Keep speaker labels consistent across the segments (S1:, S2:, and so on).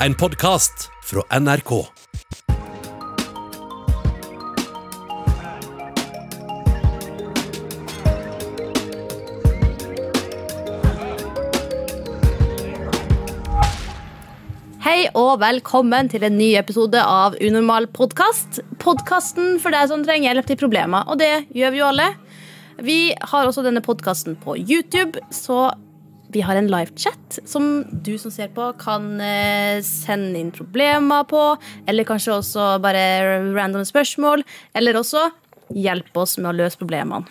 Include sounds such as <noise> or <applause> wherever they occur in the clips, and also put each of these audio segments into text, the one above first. S1: En podkast fra NRK.
S2: Hei og velkommen til en ny episode av Unormal podkast. Podkasten for deg som trenger hjelp til problemer, og det gjør vi jo alle. Vi har også denne podkasten på YouTube, så vi har en livechat som du som ser på, kan eh, sende inn problemer på. Eller kanskje også bare random spørsmål. Eller også hjelpe oss med å løse problemene.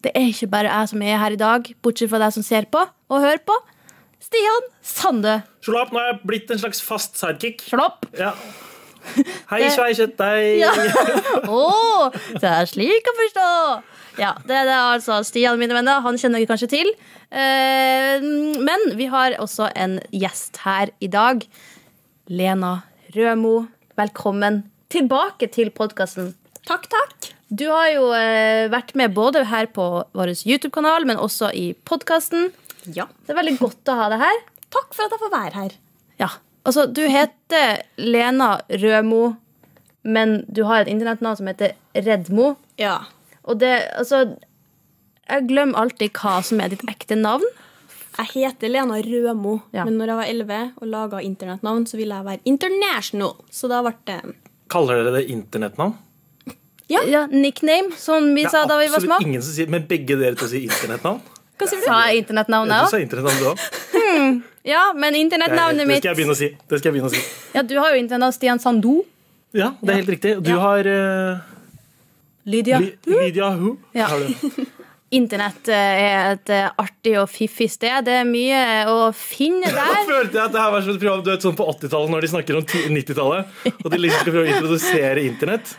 S2: Det er ikke bare jeg som er her i dag, bortsett fra deg som ser på og hører på. Stian Sande.
S3: Sholap, nå er jeg blitt en slags fast sidekick.
S2: Slapp.
S3: Ja. Hei, svei,
S2: <laughs>
S3: kjøttdeig.
S2: Ja. Å, det er slik å forstå! Ja, det, det er altså Stian, mine venner. Han kjenner dere kanskje til. Eh, men vi har også en gjest her i dag. Lena Rømo, velkommen tilbake til podkasten.
S4: Takk, takk.
S2: Du har jo eh, vært med både her på vår YouTube-kanal, men også i podkasten.
S4: Ja.
S2: Det er veldig godt å ha deg her.
S4: Takk for at jeg får være her.
S2: Ja, altså du heter Lena Rømo, men du har et internettnavn som heter Redmo.
S4: Ja.
S2: Og det, altså Jeg glemmer alltid hva som er ditt ekte navn.
S4: Jeg heter Lena Rømo,
S2: Ja.
S4: men når jeg var 11 og laga internettnavn, så ville jeg være international. Så da ble det
S3: Kaller dere det internettnavn?
S4: Ja.
S2: Ja, Nickname, som vi
S3: Det
S2: sa
S3: er
S2: da vi var små.
S3: absolutt ingen som sier Men begge dere to sier
S2: <laughs>
S3: internettnavn?
S2: Hva sier du? Sa jeg
S3: Du
S2: internettnavnet
S3: sa
S2: òg?
S3: internettnavn, du òg.
S2: <laughs> Ja, men
S3: Det er helt-
S2: internettnavnet
S3: det
S2: mitt
S3: skal jeg begynne å si. Det skal jeg begynne å si.
S2: Ja, Du har jo internettnavn Stian Sandu.
S3: Ja, det er helt riktig. Du
S2: Ja.
S3: har eh,
S2: Lydia.
S3: Li- Lydia Hu.
S2: Ja.
S3: Har du.
S2: Internett eh, er et eh, artig og fiffig sted. Det er mye eh, å finne
S3: Jeg
S2: der.
S3: følte jeg at det her var sånn program du vet, sånn på 80-tallet, når de snakker om ti- 90-tallet, og de liksom skal prøve å introdusere internett.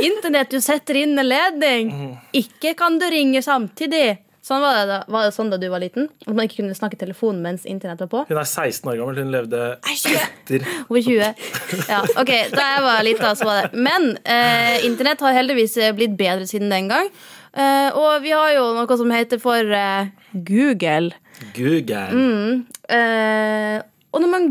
S2: Internett, du setter inn en ledning.
S3: Mhm.
S2: Ikke kan du ringe samtidig. Sånn var det, da. var det sånn da du var liten? At man ikke kunne snakke i telefonen mens internett var på?
S3: Hun er 16 år gammel. Hun levde
S4: Æsj!
S3: etter
S2: Over 20. Ja, ok, Da jeg var lita, så var det. Men eh, internett har heldigvis eh, blitt bedre siden den gang. Eh, og vi har jo noe som heter for eh, Google.
S3: Google.
S2: Mm, Eh, og når man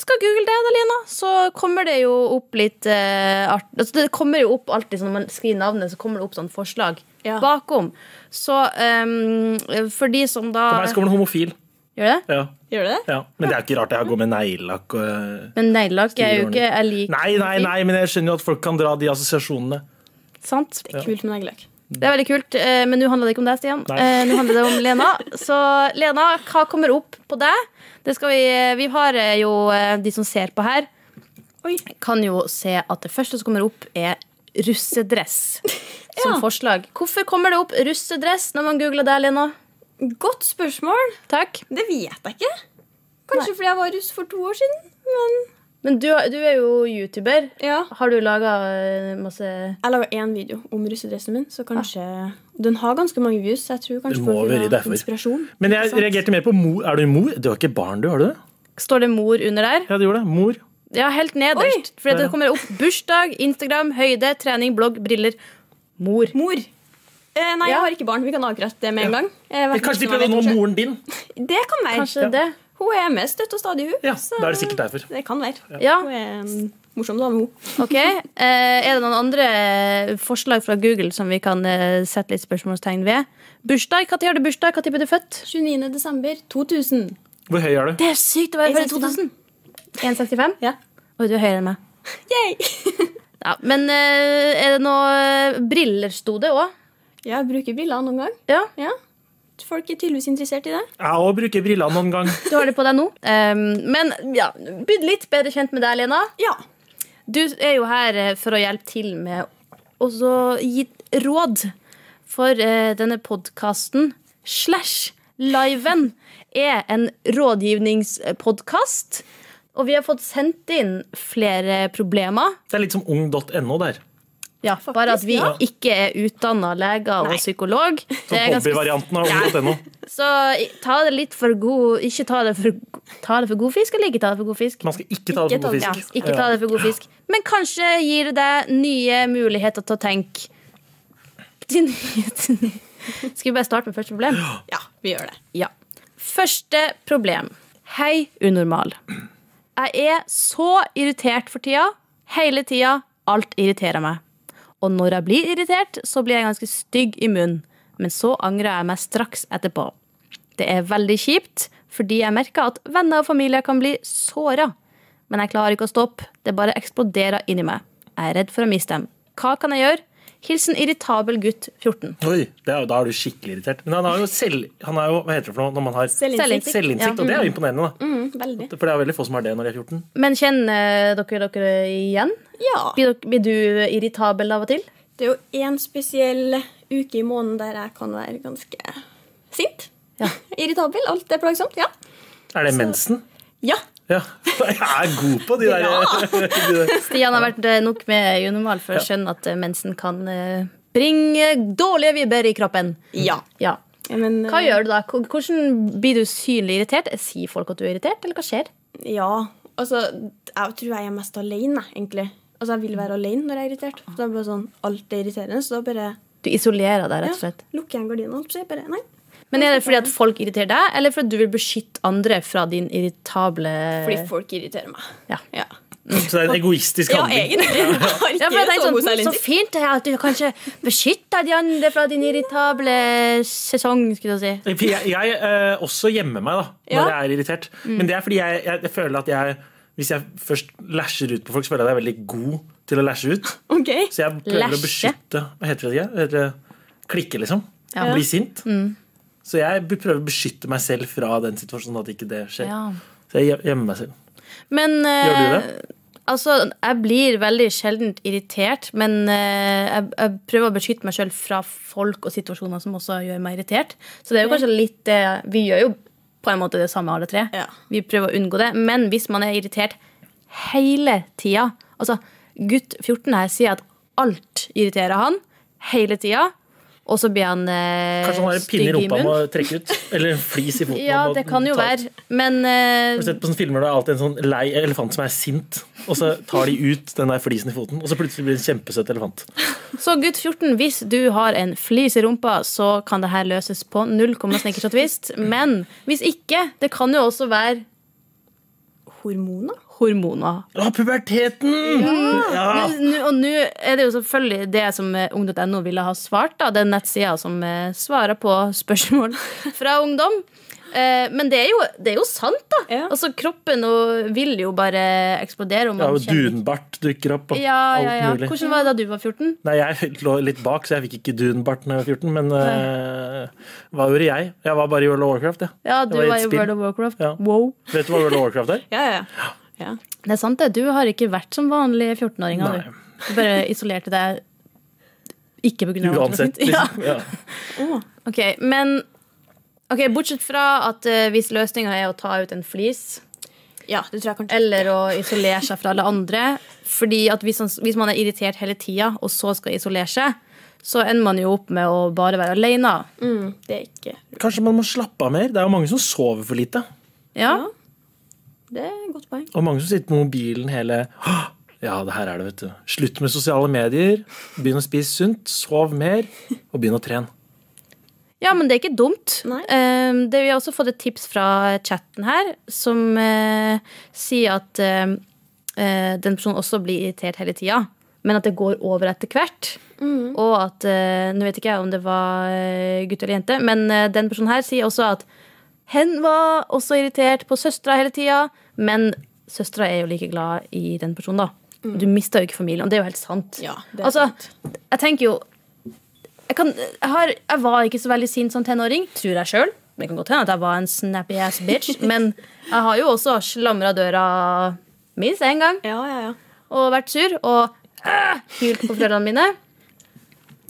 S2: skal google det, da, Lina, så kommer det jo opp litt eh, art... Altså, det kommer jo opp alltid sånn når man skriver navnet, så kommer det opp sånn forslag
S4: Ja.
S2: bakom. Så eh, for de som da
S3: For meg så kommer det homofil.
S2: Gjør det?
S3: Ja.
S4: Gjør du det?
S3: ja. Men det er jo ikke rart jeg går med neglelakk og
S2: Men neglelakk er jo
S3: Skriveordning.
S2: ikke er lik
S3: Nei, nei, nei, men jeg skjønner jo at folk kan dra de assosiasjonene.
S2: Sant?
S4: Kult med neglelakk.
S2: Det er veldig kult, eh, men nå handler det ikke om deg, Stian.
S3: Nei.
S2: Eh, Nå handler det om Lena. Så Lena, hva kommer opp på deg? Det skal vi, vi har eh, jo eh, de som ser på her,
S4: Oi.
S2: kan jo se at det første som kommer opp, er
S4: <laughs>
S2: russedress som
S4: Ja.
S2: forslag. Hvorfor kommer det opp russedress når man googler deg, Lena?
S4: Godt spørsmål.
S2: Takk.
S4: Det vet jeg ikke. Kanskje fordi jeg var russ for to år siden, men
S2: Men du, du er jo YouTuber.
S4: ja.
S2: Har du laga masse
S4: Jeg laga én video om russedressen min, så kanskje Den har ganske mange views, så jeg tror kanskje
S3: Det må
S4: folk vil
S3: være
S4: ha
S3: derfor.
S4: inspirasjon.
S3: Men jeg
S4: Sant.
S3: reagerte mer på mor. Er du mor? Du har ikke barn, du? Har du det?
S2: Står det mor under der?
S3: Ja, du gjorde det. Mor.
S2: Ja, helt nederst. For
S3: Der,
S2: det
S3: ja.
S2: kommer opp bursdag, Instagram, høyde, trening, blogg, briller. Mor.
S4: Mor. Eh, nei,
S2: Ja.
S4: jeg har ikke barn. Vi kan avkrefte det med en gang. Eh,
S3: Men kanskje de prøvde å nå moren din?
S4: Det kan være.
S2: Kanskje det?
S4: Hun er med støtt og stadig, hun.
S3: Ja,
S4: så
S3: Da er det sikkert derfor.
S4: det kan være.
S2: Ja.
S4: Hun er en morsom dame, hun.
S2: Ok, eh, Er det noen andre eh, forslag fra Google som vi kan eh, sette litt spørsmålstegn ved? Bursdag? Når har du bursdag? Når ble du født?
S4: 29. desember 2000.
S3: Hvor høy er du?
S2: Det er sykt å være født i 2000!
S4: 1,65.
S2: 1,65?
S4: Ja.
S2: Oi, du er høyere enn meg. Ja, Men eh, er det noe eh, Briller sto det òg.
S4: Ja, jeg bruker briller noen gang.
S2: Ja,
S4: Ja. Folk er tydeligvis interessert i det.
S3: Jeg òg bruker briller noen gang.
S2: du har det på deg nå. Eh, men ja, bli litt bedre kjent med deg, Lena.
S4: Ja.
S2: Du er jo her eh, for å hjelpe til med å så gi råd. For eh, denne podkasten slash liven er en rådgivningspodkast. Og vi har fått sendt inn flere problemer.
S3: Det er litt som ung.no der. Sånn
S2: Ja, bare at vi
S4: ja.
S2: ikke er utdanna leger og psykolog. Det er
S3: Som
S2: ganske
S3: hobbyvarianten av ung.no.
S2: så i- ta det litt for god Ikke ta det for, go- ta det for god fisk, eller ikke ta det for god fisk.
S3: Man skal ikke ta det
S4: Ikke
S3: for god
S4: ta-
S3: fisk.
S2: Ikke ta det for god fisk. Men kanskje gir det deg nye muligheter til å tenke til nye- til nye- Skal vi bare starte med første problem?
S4: ja, vi gjør det.
S2: Ja. Første problem. Hei, unormal. Jeg er så irritert for tida. Hele tida. Alt irriterer meg. Og når jeg blir irritert, så blir jeg ganske stygg i munnen. Men så angrer jeg meg straks etterpå. Det er veldig kjipt, fordi jeg merker at venner og familie kan bli såra. Men jeg klarer ikke å stoppe. Det bare eksploderer inni meg. Jeg er redd for å miste dem. Hva kan jeg gjøre? Hilsen irritabel gutt 14.
S3: Oi, det er, jo- Da er du skikkelig irritert. Men han er jo selv... Han er jo, hva heter det for noe når man har
S4: Selvinnsikt.
S3: selvinnsikt? Og det er jo imponerende, da.
S4: Mm, veldig.
S3: For det er veldig få som har det når de er 14.
S2: Men kjenner dere dere igjen?
S4: Ja.
S2: Blir, dere, blir du irritabel av og til?
S4: Det er jo én spesiell uke i måneden der jeg kan være ganske sint.
S2: Ja.
S4: <laughs> Irritabel. Alt er plagsomt. Ja.
S3: Er det mensen?
S4: Ja.
S3: Ja. <laughs> Jeg er god på de der. <laughs> De der.
S2: Stian har vært eh, nok med i unormal for å skjønne at eh, mensen kan eh, bringe dårlige vibber i kroppen.
S4: ja.
S2: Ja.
S4: Men,
S2: Hva gjør du da? Hvor- Hvordan blir du synlig irritert? Sier folk at du er irritert, eller hva skjer?
S4: Ja. Altså, jeg tror jeg er mest alene, egentlig. Altså, Jeg vil være alene når jeg er irritert. For det er bare sånn, Alt er irriterende, så da bare
S2: Du isolerer deg,
S4: ja,
S2: rett og slett.
S4: lukker jeg gardinene. holdt på å si, Bare, nei.
S2: Men er det fordi at folk irriterer deg, eller fordi at du vil beskytte andre fra din irritable
S4: Fordi folk irriterer meg.
S2: Ja.
S4: Ja,
S3: Så det er en egoistisk
S4: ja
S3: handling.
S4: egentlig. <laughs> Jeg
S2: Ja, for
S4: har ikke
S2: jeg
S4: så
S2: tenkte
S4: god
S2: sånn, så
S4: selvinnsikt.
S2: fint det er at du kanskje beskytter de andre fra din irritable sesong, skulle jeg si.
S3: For Jeg, jeg eh, også gjemmer meg da, når
S4: Ja.
S3: jeg er irritert.
S2: Mm.
S3: Men det er fordi jeg, jeg, jeg føler at jeg hvis jeg først lasher ut på folk, så føler jeg at jeg er veldig god til å lashe ut.
S4: Ok.
S3: Så jeg prøver
S2: Lashe?
S3: å beskytte Hva heter det? Hva heter det? Klikke, liksom.
S2: Ja. Mm.
S3: Bli sint. Så jeg b- prøver å beskytte meg selv fra den situasjonen, at ikke det skjer.
S2: Ja.
S3: Så jeg gjem- gjemmer meg selv.
S2: Men
S3: Gjør du
S2: eh, altså, jeg blir veldig sjeldent irritert, men eh, jeg, jeg prøver å beskytte meg sjøl fra folk og situasjoner som også gjør meg irritert. Så det er jo kanskje litt det Vi gjør jo på en måte det samme, alle tre.
S4: Ja.
S2: Vi prøver å unngå det. Men hvis man er irritert hele tida Altså, gutt 14 her sier at alt irriterer han hele tida, og så blir han eh,
S3: Kanskje han har en pinne i rumpa med å trekke ut? Eller en flis i foten?
S2: <laughs> Ja,
S3: han må
S2: det kan jo
S3: ta ut.
S2: være, men eh,
S3: Har du sett på sånne filmer der det er alltid en sånn lei elefant som er sint, og så tar de ut den der flisen i foten, og så plutselig blir det en kjempesøt elefant.
S2: Så gutt 14, hvis du har en flis i rumpa, så kan det her løses på null komma snekershotvist. Men hvis ikke, det kan jo også være
S4: Hormoner?
S2: hormoner.
S3: Å, puberteten! Ja.
S2: Men nå- Og nå er det jo selvfølgelig det som eh, ung.no ville ha svart, da. Den nettsida som eh, svarer på spørsmål fra ungdom. Eh, Men det er jo, det er jo sant, da.
S4: Ja.
S2: Altså, kroppen og vil jo bare eksplodere. Om
S3: Ja,
S2: man
S3: og
S2: kjenner-
S3: dunbart dukker opp, og
S2: ja, ja, ja.
S3: alt mulig.
S2: Hvordan var det da du var 14?
S3: Nei, jeg lå litt bak, så jeg fikk ikke dunbart da jeg var 14, men eh, hva gjorde jeg? Jeg var bare i World of Warcraft, jeg.
S2: Ja, du
S3: var i
S2: var jo
S3: et spill.
S2: World of Warcraft.
S3: Ja.
S2: Wow.
S3: Vet du hva World of Warcraft er?
S4: Ja, ja, ja. ja.
S2: Det er sant, det. Du har ikke vært som vanlige 14-åringer.
S3: Nei.
S2: Du. du bare isolerte deg ikke pga.
S3: Uansett. Liksom. <laughs> Ja.
S2: <laughs> Ok, men Ok, Bortsett fra at eh, hvis løsninga er å ta ut en flis,
S4: ja det tror jeg kanskje.
S2: eller å isolere seg fra alle andre Fordi at hvis, han- hvis man er irritert hele tida, og så skal isolere seg, så ender man jo opp med å bare være aleine.
S4: Mm, det er ikke
S3: Kanskje man må slappe av mer? Det er jo mange som sover for lite.
S2: Ja?
S4: Det er et godt poeng.
S3: Og mange som sitter med mobilen hele «Åh, Ja, det her er det, vet du. Slutt med sosiale medier. Begynn å spise sunt. Sov mer. Og begynn å trene.
S2: Ja, men det er ikke dumt.
S4: Nei.
S2: Ehm, det, vi har også fått et tips fra chatten her, som eh, sier at eh, eh, den personen også blir irritert hele tida, men at det går over etter hvert. Og at eh, Nå vet ikke jeg om det var eh, gutt eller jente, men eh, den personen her sier også at hen var også irritert på søstera hele tida, men søstera er jo like glad i den personen, da. Du mister jo ikke familien, og det er jo helt sant.
S4: Mm. Ja, det er
S2: altså, jeg tenker jo jeg, kan, jeg, har, jeg var ikke så veldig sint som tenåring, tror jeg sjøl. Det kan godt hende at jeg var en snappy ass
S4: <laughs>
S2: bitch, men jeg har jo også slamra døra minst én gang
S4: Ja, ja, ja.
S2: og vært sur og øh, hylt på foreldrene mine.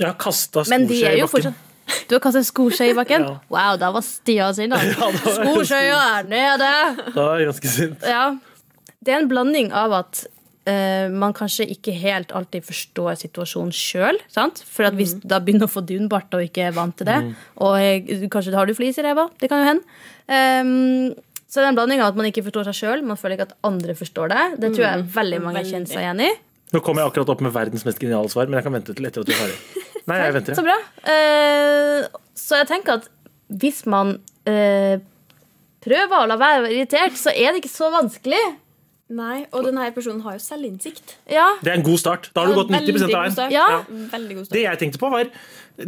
S3: Jeg har kasta
S2: Men de
S3: skoskje
S2: er
S3: i
S2: jo
S3: bakken.
S2: fortsatt Du har kastet skoskje i bakken?
S3: Ja.
S2: Wow, da var Stian sin,
S3: <laughs>
S2: da. Skoskjea er nede!
S3: Da er jeg ganske sint.
S2: Ja. Det er en blanding av at eh, man kanskje ikke helt alltid forstår situasjonen sjøl. For at hvis du da begynner å få dunbart og ikke er vant til det, og eh, kanskje har du flis i ræva, det kan jo hende. Ehm, så det er en blanding av at man ikke forstår seg sjøl, man føler ikke at andre forstår deg. Det tror jeg Mhm. veldig mange
S4: Veldig.
S2: kjenner seg igjen i.
S3: Nå kommer jeg akkurat opp med verdens mest geniale svar, men jeg kan vente til etter at du er ferdig. Nei, jeg venter.
S2: Så bra. Eh, så jeg tenker at hvis man eh, prøver å la være irritert, så er det ikke så vanskelig.
S4: Nei, og denne personen har jo selvinnsikt.
S2: Ja,
S3: Det er en god start. Da har du gått 90 av
S4: Veldig god
S3: veien.
S4: start.
S2: Ja.
S4: Veldig god
S3: Det
S4: start.
S3: jeg tenkte på var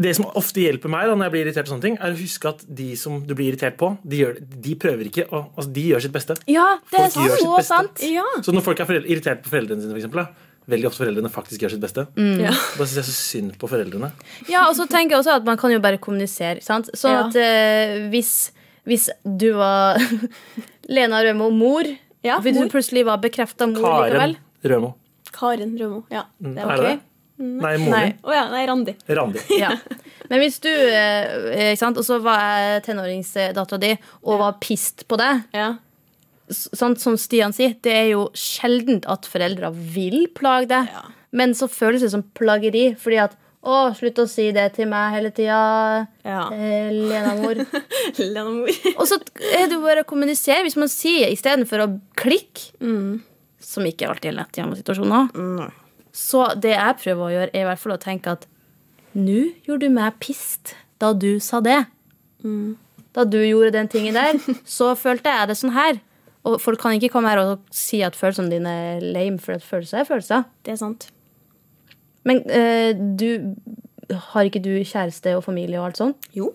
S3: Det som ofte hjelper meg da når jeg blir irritert, på sånne ting er å huske at de som du blir irritert på, de, gjør, de prøver ikke. å- altså, de gjør sitt beste.
S2: ja det er
S3: Folk gjør sitt
S2: så
S3: beste.
S2: sant.
S4: Ja.
S3: Så når folk er foreldre, irritert på foreldrene sine, for eksempel, da, veldig ofte foreldrene faktisk gjør sitt beste.
S4: Ja.
S3: Da syns jeg så synd på foreldrene.
S2: Ja, og så tenker jeg også at man kan jo bare kommunisere. Sant? Sånn
S4: Ja.
S2: at eh, hvis, hvis du var <laughs> Lena Rømo mor,
S4: Ja,
S2: hvis
S4: mor.
S2: du plutselig var bekrefta mor
S3: Karen
S2: likevel
S3: Rømo.
S4: Karen Rømo. Ja, det
S3: Er
S4: var
S3: det
S4: ok.
S3: det? Nei, moren
S2: Nei.
S3: din.
S4: Å ja, nei, Randi.
S3: Randi.
S2: ja.
S4: <laughs>
S2: Men hvis du eh, ikke sant? Og så var jeg tenåringsdattera di og var pissed på deg,
S4: Ja.
S2: s- sant? som Stian sier, det er jo sjelden at foreldre vil plage deg.
S4: Ja.
S2: Men så føles det som plageri, fordi at å, slutt å si det til meg hele tida,
S4: ja.
S2: eh,
S4: <laughs>
S2: Lena-mor.
S4: Lena Mor.
S2: Og så er det jo bare å kommunisere. Hvis man sier istedenfor å klikke, som ikke alltid er lett i andre situasjoner Så det jeg prøver å gjøre, er i hvert fall å tenke at nå gjorde du meg pissed da du sa det. Da du gjorde den tingen
S4: <laughs>
S2: der, så følte jeg det sånn her. Og folk kan ikke komme her og si at følelsene dine er lame, for at følelser er følelser.
S4: <laughs> Det er sant.
S2: Men eh, du har ikke du kjæreste og familie og alt sånt?
S4: Jo.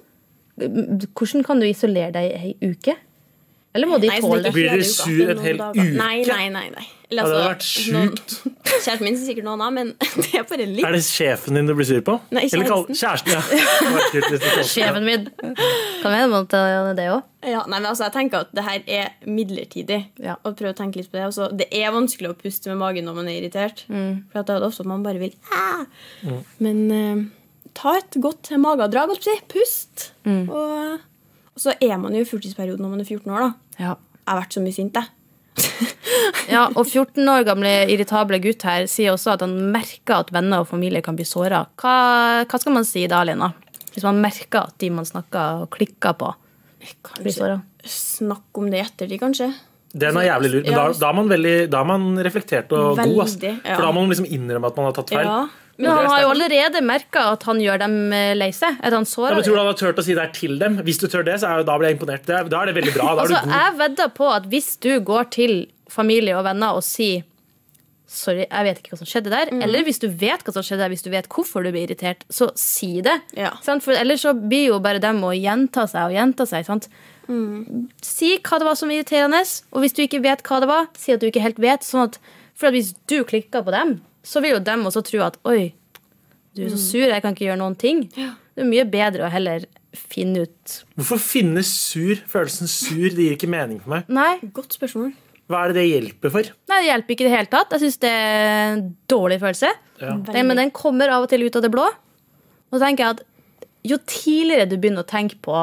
S2: Hvordan kan du isolere deg ei uke? Eller må de
S4: Nei, sånn
S2: tåle
S4: ikke
S2: det?
S3: Blir dere
S4: hele uka.
S3: sur en
S4: Noen
S3: hel
S4: dager.
S3: uke?
S4: Nei, nei, nei. nei. Eller,
S3: Ja, det hadde vært
S4: altså, noen- <laughs>
S3: sjukt.
S4: Kjæresten min sier sikkert noe annet, men <laughs> det er bare litt.
S3: Er det sjefen din du blir sur på?
S4: Nei,
S3: Eller kall- kjæresten. Ja. Det var kult hvis du kalte det.
S2: Sjefen min. Kan hende man tar det òg.
S4: Ja, nei, men altså, jeg tenker at det her er midlertidig.
S2: Ja.
S4: Og prøv å tenke litt på Det altså, Det er vanskelig å puste med magen når man er irritert. For at det er ofte at man bare vil «Ah!»
S3: Mm.
S4: Men eh, ta et godt magedrag, holdt jeg på å si. Pust. Og, og så er man jo i fulltidsperioden når man er 14 år, da.
S2: Ja.
S4: Jeg har vært så mye sint, jeg.
S2: <laughs> ja, Og 14 år gamle irritable gutt her sier også at han merker at venner og familie kan bli såra. Hva, hva skal man si da, Lena? Hvis man merker at de man snakker og klikker på, blir
S4: Kanskje
S2: såra?
S4: snakk om det i ettertid, kanskje.
S3: Den er jævlig lur. Men da,
S4: Ja.
S3: da, er man veldig, da er man reflektert og
S4: Veldig,
S3: god. Ass.
S4: ja.
S3: For da må man liksom innrømme at man har tatt feil.
S4: Ja.
S2: Men han har jo allerede merka at han gjør dem eh, lei seg. At han
S3: Ja,
S2: sårer
S3: men
S2: dem.
S3: tror du han har turt å si det er til dem? Hvis du tør det, så er, jo- da blir jeg imponert. Det er, da er det veldig bra. Da er
S2: Altså,
S3: du god.
S2: jeg vedder på at hvis du går til familie og venner og sier Sorry, jeg vet ikke hva som skjedde der. Eller hvis du vet hva som skjedde der, hvis du vet hvorfor du blir irritert, så si det.
S4: Ja.
S2: Sant? For ellers så blir jo bare dem å gjenta seg og gjenta seg. Sant? Si hva det var som var irriterende, og hvis du ikke vet hva det var, si at du ikke helt vet. Sånn at, for at hvis du klikker på dem, så vil jo dem også tro at oi, du er så sur, jeg kan ikke gjøre noen ting. Det er mye bedre å heller finne ut
S3: Hvorfor finne sur? Følelsen sur det gir ikke mening for meg.
S2: Nei,
S4: Godt spørsmål.
S3: Hva er det det hjelper for?
S2: Nei, det hjelper ikke i det hele tatt. Jeg syns det er en dårlig følelse.
S3: Ja.
S2: Nei, men den kommer av og til ut av det blå. Og så tenker jeg at jo tidligere du begynner å tenke på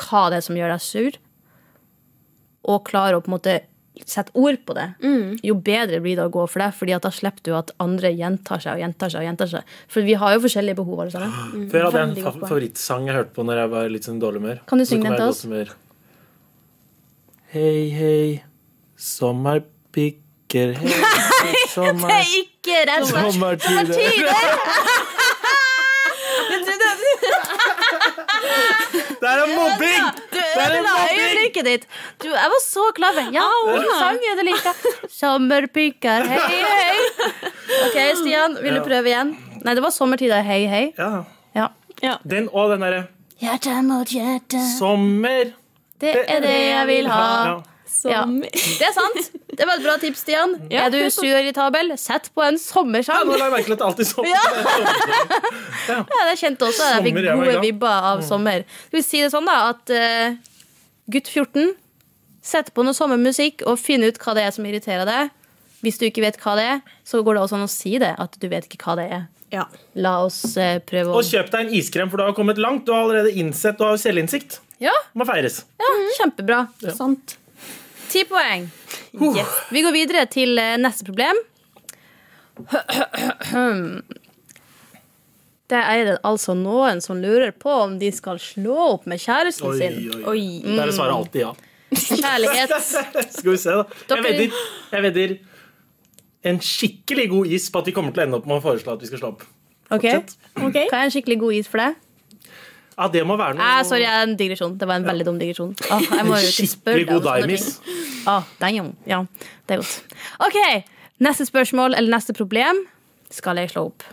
S2: hva det er som gjør deg sur, og klarer å på en måte sette ord på det, jo bedre blir det å gå for det. Fordi at da slipper du at andre gjentar seg og gjentar seg. og gjentar seg. For vi har jo forskjellige behov, alle sammen.
S3: Før hadde jeg en
S4: Veldig
S3: fa
S4: godt poeng.
S3: favorittsang jeg hørte på når jeg var litt sånn dårlig humør.
S2: Kan du
S3: Så
S2: synge
S3: kom
S2: den
S3: jeg i
S2: til
S3: godt humør. Hei, hei, sommerpikker, hei, sommer,
S2: Ikke redd deg!
S3: sommertider.
S2: <laughs>
S3: Det er mobbing!
S2: Du
S3: Det er en
S2: ødela
S3: mobbing!
S2: øyeblikket ditt! Du, jeg var så klar over Ja, den sangen jeg liker. Sommerpiker, hei, hei. OK, Stian, vil
S3: Ja.
S2: du prøve igjen? Nei, det var sommertider, hei, hei.
S3: Ja,
S2: Ja.
S3: den og den derre
S2: Hjerte mot hjerte.
S3: sommer.
S2: Det er det jeg vil ha.
S3: Ja.
S2: Ja.
S4: Som
S2: Det er sant. Det var et bra tips, Stian.
S4: Ja.
S2: Er du sur og irritabel, sett på en
S3: Ja,
S2: sommersang.
S3: nå la jeg merke til at det alltid er sommer.
S2: Ja, det kjente også Jeg fikk
S3: Sommer, jeg var
S2: gode
S3: glad.
S2: vibber av sommer. Skal vi si det sånn, da, at eh, gutt 14 Sett på noe sommermusikk og finn ut hva det er som irriterer deg. Hvis du ikke vet hva det er, så går det også an å si det. At du vet ikke hva det er.
S4: Ja.
S2: La oss eh, prøve å
S3: Og kjøp deg en iskrem, for du har kommet langt. Du har allerede innsett, du har selvinnsikt.
S2: Ja,
S3: Må feires.
S2: ja kjempebra.
S4: Sant.
S2: Ti poeng.
S4: Yes.
S2: Vi går videre til eh, neste problem. Det er det altså noen som lurer på om de skal slå opp med kjæresten sin.
S4: Oi.
S3: Dere svarer alltid ja.
S2: Kjærlighet.
S3: <laughs> Skal vi se, da. Jeg vedder, jeg vedder en skikkelig god is på at vi kommer til å ende opp med å foreslå at vi skal slå opp.
S2: Ok,
S3: Fortsett.
S4: Ok.
S2: Hva er en skikkelig god is for deg?
S3: Ja, det må være noe
S2: Eh, sorry, jeg er en digresjon. Det var en veldig dum digresjon. Åh, jeg må jo ikke spørre deg om
S3: skikkelig god
S2: sånne
S3: daimis.
S2: ting. Åh, damn. Ja, det er godt. OK. Neste spørsmål eller neste problem skal jeg slå opp.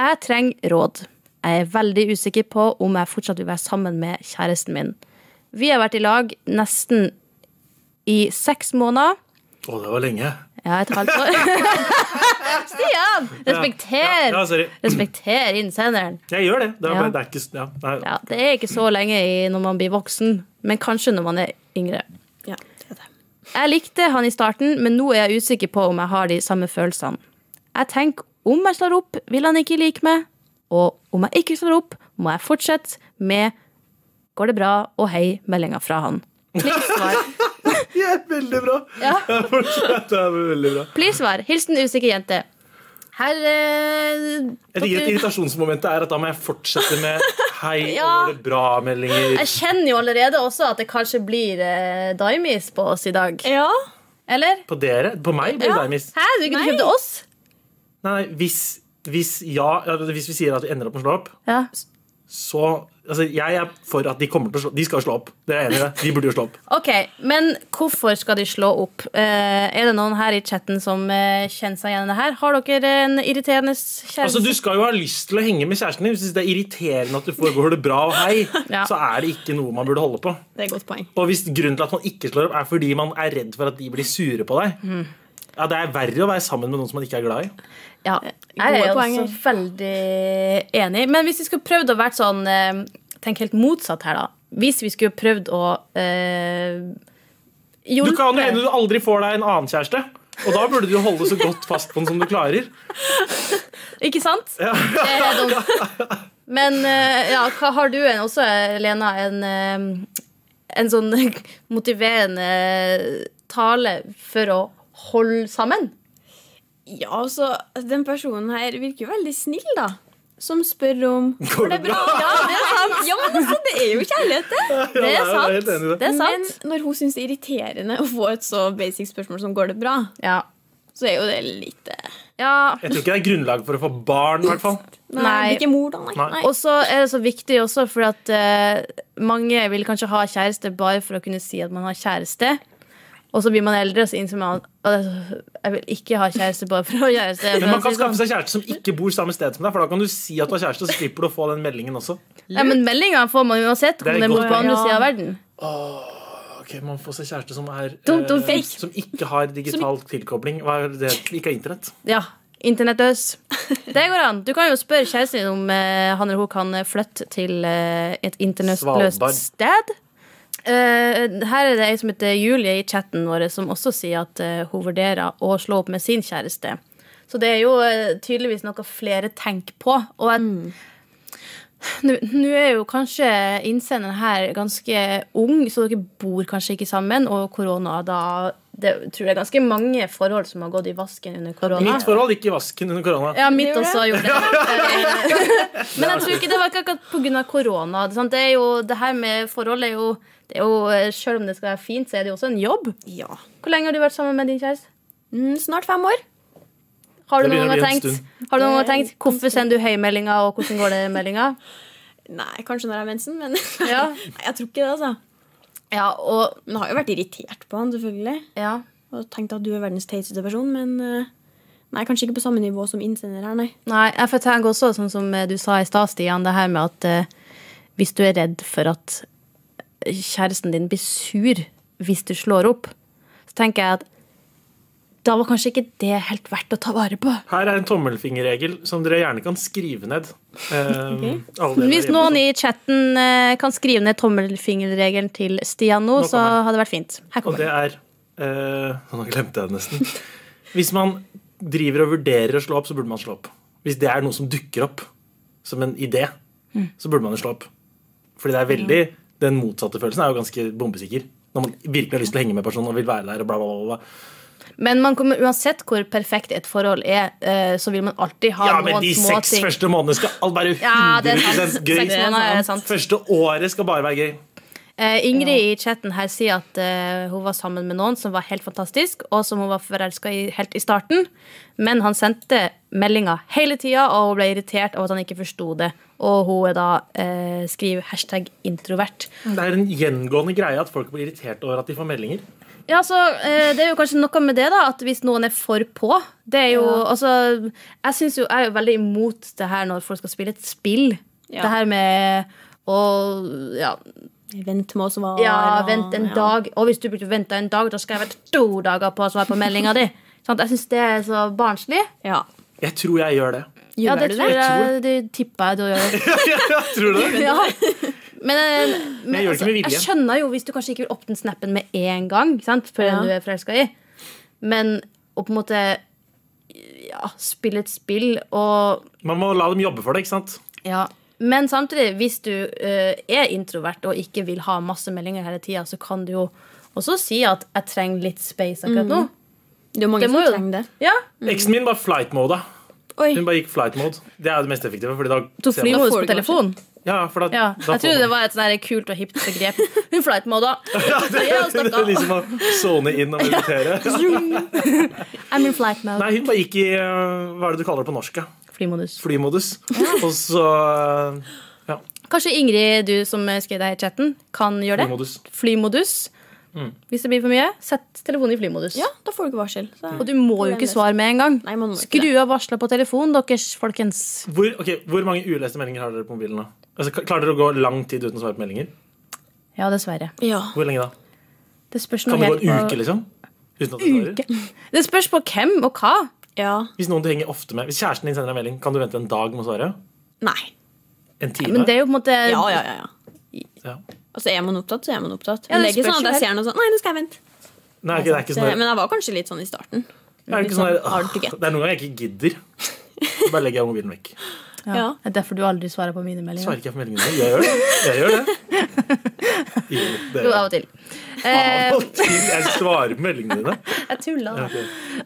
S2: Jeg trenger råd. Jeg er veldig usikker på om jeg fortsatt vil være sammen med kjæresten min. Vi har vært i lag nesten i seks måneder.
S3: Å, det var lenge.
S2: Ja, et halvt
S3: <laughs>
S2: år. Stian! Respekter!
S3: Ja, ja, sorry.
S2: Respekter innsenderen.
S3: Jeg gjør det. Det er,
S2: Ja.
S3: det er ikke ja, nei.
S2: Ja, det er ikke så lenge i når man blir voksen, men kanskje når man er yngre.
S4: Ja, det er det.
S2: Jeg likte han i starten, men nå er jeg usikker på om jeg har de samme følelsene. Jeg tenker om jeg slår opp, vil han ikke like meg. Og om jeg ikke slår opp, må jeg fortsette med 'går det bra' og 'hei' meldinga fra han. Please svar.
S3: Ja, veldig bra. <laughs>
S2: Ja.
S3: Fortsett, det er veldig bra.
S2: Please svar. Hilsen usikker jente. Her eh,
S3: Et, et
S2: dere-
S3: irritasjonsmoment er at da må jeg fortsette med hei
S2: <laughs> Ja.
S3: og går det bra-meldinger.
S2: Jeg kjenner jo allerede også at det kanskje blir eh, daimis på oss i dag.
S4: Ja.
S2: Eller?
S3: På dere? På meg blir det deg, miss.
S2: Hæ? Du kunne
S4: Nei.
S2: kjøpt til oss?
S3: Nei, nei, hvis, hvis ja ja, Hvis vi sier at vi ender opp med å slå opp,
S2: Ja.
S3: så altså, Jeg er for at de kommer til å slå De skal slå opp. Det er jeg enig i. det. De burde jo slå opp.
S2: Ok, men hvorfor skal de slå opp? Eh, er det noen her i chatten som eh, kjenner seg igjen i det her? Har dere en irriterende kjæreste?
S3: Altså, Du skal jo ha lyst til å henge med kjæresten din. Hvis du synes det er irriterende at du får 'går det bra' og 'hei',
S2: <laughs> Ja.
S3: så er det ikke noe man burde holde på.
S4: Det er et godt poeng.
S3: Og hvis grunnen til at man ikke slår opp, er fordi man er redd for at de blir sure på deg
S2: Mm.
S3: Ja, Det er verre å være sammen med noen som man ikke er glad i.
S2: Ja, Eh, jeg er
S4: Gode
S2: jo
S4: poeng
S2: også veldig enig. Men hvis vi skulle prøvd å være sånn eh, Tenk helt motsatt her, da. Hvis vi skulle prøvd å eh,
S3: Du
S2: hjelpe
S3: kan jo hende du aldri får deg en annen kjæreste. Og da burde du jo holde så godt fast på den som du klarer.
S2: Ikke sant? Det er helt dumt. Men eh, ja, hva har du en, også, Lena, en, eh, en sånn <laughs> motiverende tale for å holde sammen?
S4: Ja, altså, den personen her virker jo veldig snill, da. Som spør om
S3: <laughs> Går det bra?
S4: Ja, det er sant! Ja, men altså, det er jo kjærlighet, det.
S2: <laughs> Det
S3: jeg
S2: er
S3: er helt
S2: sant.
S3: enig i det.
S2: Det er
S4: Men
S2: sant.
S4: når hun syns det er irriterende å få et så basic spørsmål som 'går det bra',
S2: Ja.
S4: så er jo det litt eh,
S2: ja.
S3: Jeg tror ikke det er grunnlag for å få barn, i hvert fall.
S4: Nei,
S2: Nei.
S4: det er ikke mor, da. Nei.
S3: Nei.
S4: nei.
S2: Og så er det så viktig også, for at eh, mange vil kanskje ha kjæreste bare for å kunne si at man har kjæreste. Og så blir man eldre, og så innser man at øh, jeg vil ikke ha kjæreste bare for å ha kjæreste.
S3: Men man
S2: For å si
S3: kan
S2: sånn.
S3: skaffe seg kjæreste som ikke bor samme sted som deg, for da kan du si at du har kjæreste, og så slipper du å få den meldingen også.
S2: Ja, men meldinga får man uansett
S3: Det er
S2: om det
S3: et
S2: bor
S3: godt
S2: på andre
S4: poeng.
S2: sida av verden.
S3: Ok, Man får seg kjæreste som er
S2: Don't- don't
S3: eh,
S2: fake.
S3: Som ikke har digital tilkobling. Hva er det? Ikke har internett.
S2: Ja, internettløs. <laughs> Det går an. Du kan jo spørre kjæresten din om eh, han eller hun kan flytte til eh, et internettløst
S3: Svalbard.
S2: sted. Eh, her er det ei som heter Julie i chatten vår, som også sier at eh, hun vurderer å slå opp med sin kjæreste. Så det er jo eh, tydeligvis noe flere tenker på. Og jeg
S4: Mm.
S2: Nå nå er jo kanskje innsenderen her ganske ung, så dere bor kanskje ikke sammen. Og korona, da det, tror jeg er ganske mange forhold som har gått i vasken under korona.
S3: Mitt forhold gikk i vasken under korona.
S2: Ja, mitt
S4: Det gjorde
S2: også har gjort det. Eh,
S4: <laughs>
S2: Men jeg tror ikke det <laughs> var ikke akkurat pga. korona. Det, er sant? det, er jo, det her med forhold er jo, det er jo eh, Selv om det skal være fint, så er det jo også en jobb.
S4: Ja.
S2: Hvor lenge har du vært sammen med din kjæreste?
S4: Mm, snart fem år.
S2: Har du
S3: Det
S2: noen
S3: begynner å
S2: gang
S3: bli en
S2: tenkt, har du noen gang tenkt hvorfor sender du høymeldinga, og hvordan går det i meldinga?
S4: Nei, kanskje når jeg har mensen, men <laughs>
S2: Ja.
S4: Nei, jeg tror ikke det, altså.
S2: <laughs> Ja, og
S4: Men jeg har jo vært irritert på han, selvfølgelig.
S2: ja.
S4: Og tenkt at du er verdens teiteste person, men eh, Nei, kanskje ikke på samme nivå som innsender her, nei.
S2: Nei, jeg får tenke også, sånn som eh, du sa i stad, Stian, det her med at eh, hvis du er redd for at kjæresten din blir sur hvis du slår opp, så tenker jeg at da var kanskje ikke det helt verdt å ta vare på.
S3: Her er en tommelfingerregel som dere gjerne kan skrive ned.
S2: <laughs>
S3: Eh, alle dere
S2: Hvis
S3: der hjemme
S2: noen
S3: som-
S2: i chatten eh, kan skrive ned tommelfingerregelen til Stian nå,
S3: Nå
S2: så
S3: kommer den.
S2: hadde det vært fint. Her
S3: Og
S2: kommer
S3: det
S2: den.
S3: er eh, Nå glemte jeg det nesten. Hvis man driver og vurderer å slå opp, så burde man slå opp. Hvis det er noe som dukker opp som en idé,
S2: Mm.
S3: så burde man jo slå opp. Fordi det er veldig Den motsatte følelsen er jo ganske bombesikker. Når man virkelig har lyst til å henge med personen og vil være der og bla, bla, bla. bla.
S2: Men man kommer, uansett hvor perfekt et forhold er, eh, så vil man alltid ha
S3: Ja, men
S2: noen
S3: de seks
S2: småting.
S3: første månedene skal alt være
S2: Ja, det er
S3: 100
S2: sant.
S3: gøy.
S2: Seks måneder er sant.
S3: Første året skal bare være gøy.
S2: Eh, Eh, Ingrid i chatten her sier at eh, hun var sammen med noen som var helt fantastisk, og som hun var forelska i helt i starten. Men han sendte meldinger hele tida, og hun ble irritert over at han ikke forsto det. Og hun er da eh, skriver hashtag introvert.
S3: Det er en gjengående greie at folk blir irritert over at de får meldinger.
S2: Ja, altså, eh, Det er jo kanskje noe med det, da, at hvis noen er for på Det er jo, altså Jeg synes jo, jeg er jo veldig imot det her når folk skal spille et spill.
S4: Ja.
S2: Det her med å ja,
S4: Vent med å svare.
S2: ja,
S4: og-
S2: vent en
S4: ja.
S2: dag. Og hvis du burde vente en dag, da skal jeg vente to dager på å svare på meldinga di. Sant? jeg syns det er så barnslig.
S4: Ja.
S3: Jeg tror jeg gjør <laughs> det.
S4: Gjør
S2: Ja, det
S4: du
S2: tror
S4: det?
S2: jeg, det tipper jeg du
S3: <laughs>
S2: gjør.
S3: tror du det?
S2: Ja. Men, eh, men
S3: gjør det ikke
S2: altså,
S3: med vilje.
S2: jeg skjønner jo hvis du kanskje ikke vil åpne snappen med en gang, ikke sant? før
S4: Ja.
S2: du er forelska i, men å på en måte ja, spille et spill og
S3: Man må la dem jobbe for det, ikke sant?
S2: Ja. Men samtidig, hvis du eh, er introvert og ikke vil ha masse meldinger hele tida, så kan du jo også si at 'jeg trenger litt space akkurat nå'.
S4: Det er mange
S2: Det må
S4: som
S2: jo-
S4: trenger det.
S2: Ja.
S3: Eksen min var flight mode. da.
S4: Oi.
S3: Hun bare gikk flight mode. Det er jo det mest effektive. Fordi da
S2: Tok
S3: ser man-
S4: Da
S2: flymodus
S4: får
S2: på
S4: du
S2: telefon.
S3: Ja, for da,
S2: Ja.
S3: da
S2: Jeg trodde det var et sånn her kult og hipt begrep. Hun fløyt med da. Så jeg
S3: <laughs> det
S2: snakket.
S3: er liksom å sone inn og meditere.
S4: <laughs>
S2: I'm in flight mode.
S3: Nei, hun bare gikk i eh, Hva er det du kaller det på norsk? ja?
S2: Flymodus.
S3: Flymodus. Og så eh, Ja,
S2: Kanskje Ingrid, du som skrev deg i chatten, kan gjøre det?
S3: flymodus. Mm.
S2: Flymodus. Hvis det blir for mye, sett telefonen i flymodus.
S4: Ja, da får du ikke varsel. Så.
S2: Og du må jo ikke svare med en gang.
S4: Nei, man må ikke
S2: Skru av varsler på telefonen deres, folkens.
S3: Hvor, ok, hvor mange uleste meldinger har dere på mobilen? da? Altså, ka- klarer dere å gå lang tid uten å svare på meldinger?
S2: Ja, dessverre.
S4: Ja.
S3: Hvor lenge da?
S2: Det spørs nå
S3: Kan det gå
S2: helt
S3: en
S2: på
S3: uke, liksom? Uten at du svarer?
S2: Uke? Det spørs på hvem og hva.
S4: ja.
S3: Hvis noen du henger ofte med Hvis kjæresten din sender deg en melding, kan du vente en dag med å svare?
S4: Nei.
S3: En time?
S2: Men det er jo på en måte
S4: Ja, ja, ja. ja.
S3: ja.
S4: Altså, Er man opptatt, så er man opptatt.
S2: Ja,
S4: Men
S2: det
S4: det er ikke
S2: spørs
S4: sånn
S2: jo
S4: at
S2: helt.
S4: jeg ser noe sånn Nei, nå skal jeg vente.
S3: Nei, ok, det er ikke sånn
S4: Det- Men jeg var kanskje litt sånn i starten.
S3: det er,
S2: Liksom,
S4: litt
S3: ikke sånn,
S4: sånn hard to
S3: det
S4: get.
S3: er noen ganger jeg ikke gidder. Så Bare legger jeg mobilen vekk.
S2: Ja.
S4: Ja.
S2: Det er derfor du aldri svarer på mine meldinger.
S3: Svarer ikke jeg på meldingene dine? Jeg gjør det. Jeg gjør det. Jo, det
S2: Jo, av
S3: gjør jeg.
S2: og til.
S3: Av
S2: Eh,
S3: og til. Jeg svarer på meldingene dine.
S2: jeg tuller.
S3: Ja, ok.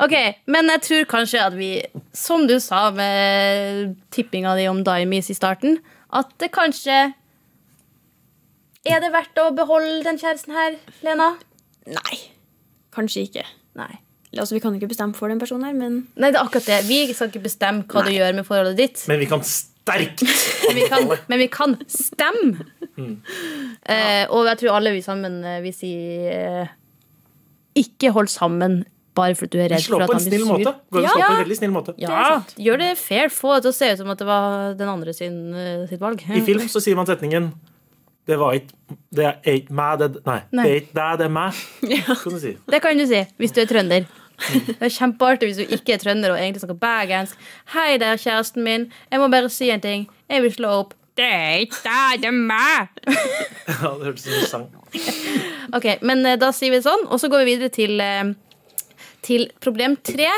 S2: Ok, men jeg tror kanskje at vi, som du sa med tippinga di om Dimes i starten, at det kanskje Er det verdt å beholde den kjæresten her, Lena?
S4: Nei. Kanskje ikke.
S2: Nei.
S4: Altså, Vi kan jo ikke bestemme for den personen her, men
S2: Nei, det er akkurat det. Vi skal ikke bestemme hva du gjør med forholdet ditt,
S3: Men vi kan sterkt
S2: <laughs> men vi kan, men vi kan stemme.
S3: Mm.
S2: Eh, og jeg tror alle vi sammen eh, vil si eh, Ikke hold sammen bare fordi du er redd
S3: slå
S2: for at
S3: på en
S2: han blir
S3: snill
S2: sur.
S3: måte. Går det å
S2: Ja.
S3: slå på en veldig snill måte.
S2: Ja, Gjør det fair. Få det til å se ut som at det var den andre sin, eh, sitt valg.
S3: I film så sier man setningen Det var ikke Det er ikke meg, det Nei.
S2: Nei.
S3: Det er ikke deg, det er meg. Kan du si.
S2: <laughs>
S3: <laughs>
S2: Det kan du si hvis du er trønder. Det er kjempeartig hvis du ikke er trønder og egentlig snakker bergensk. Hei der, kjæresten min. Jeg må bare si en ting. Jeg vil slå opp. Det er ikke deg, det er meg.
S3: Ja, det hørtes ut som en sang.
S2: Ok, men eh, da sier vi det sånn, og så går vi videre til, eh, til problem tre,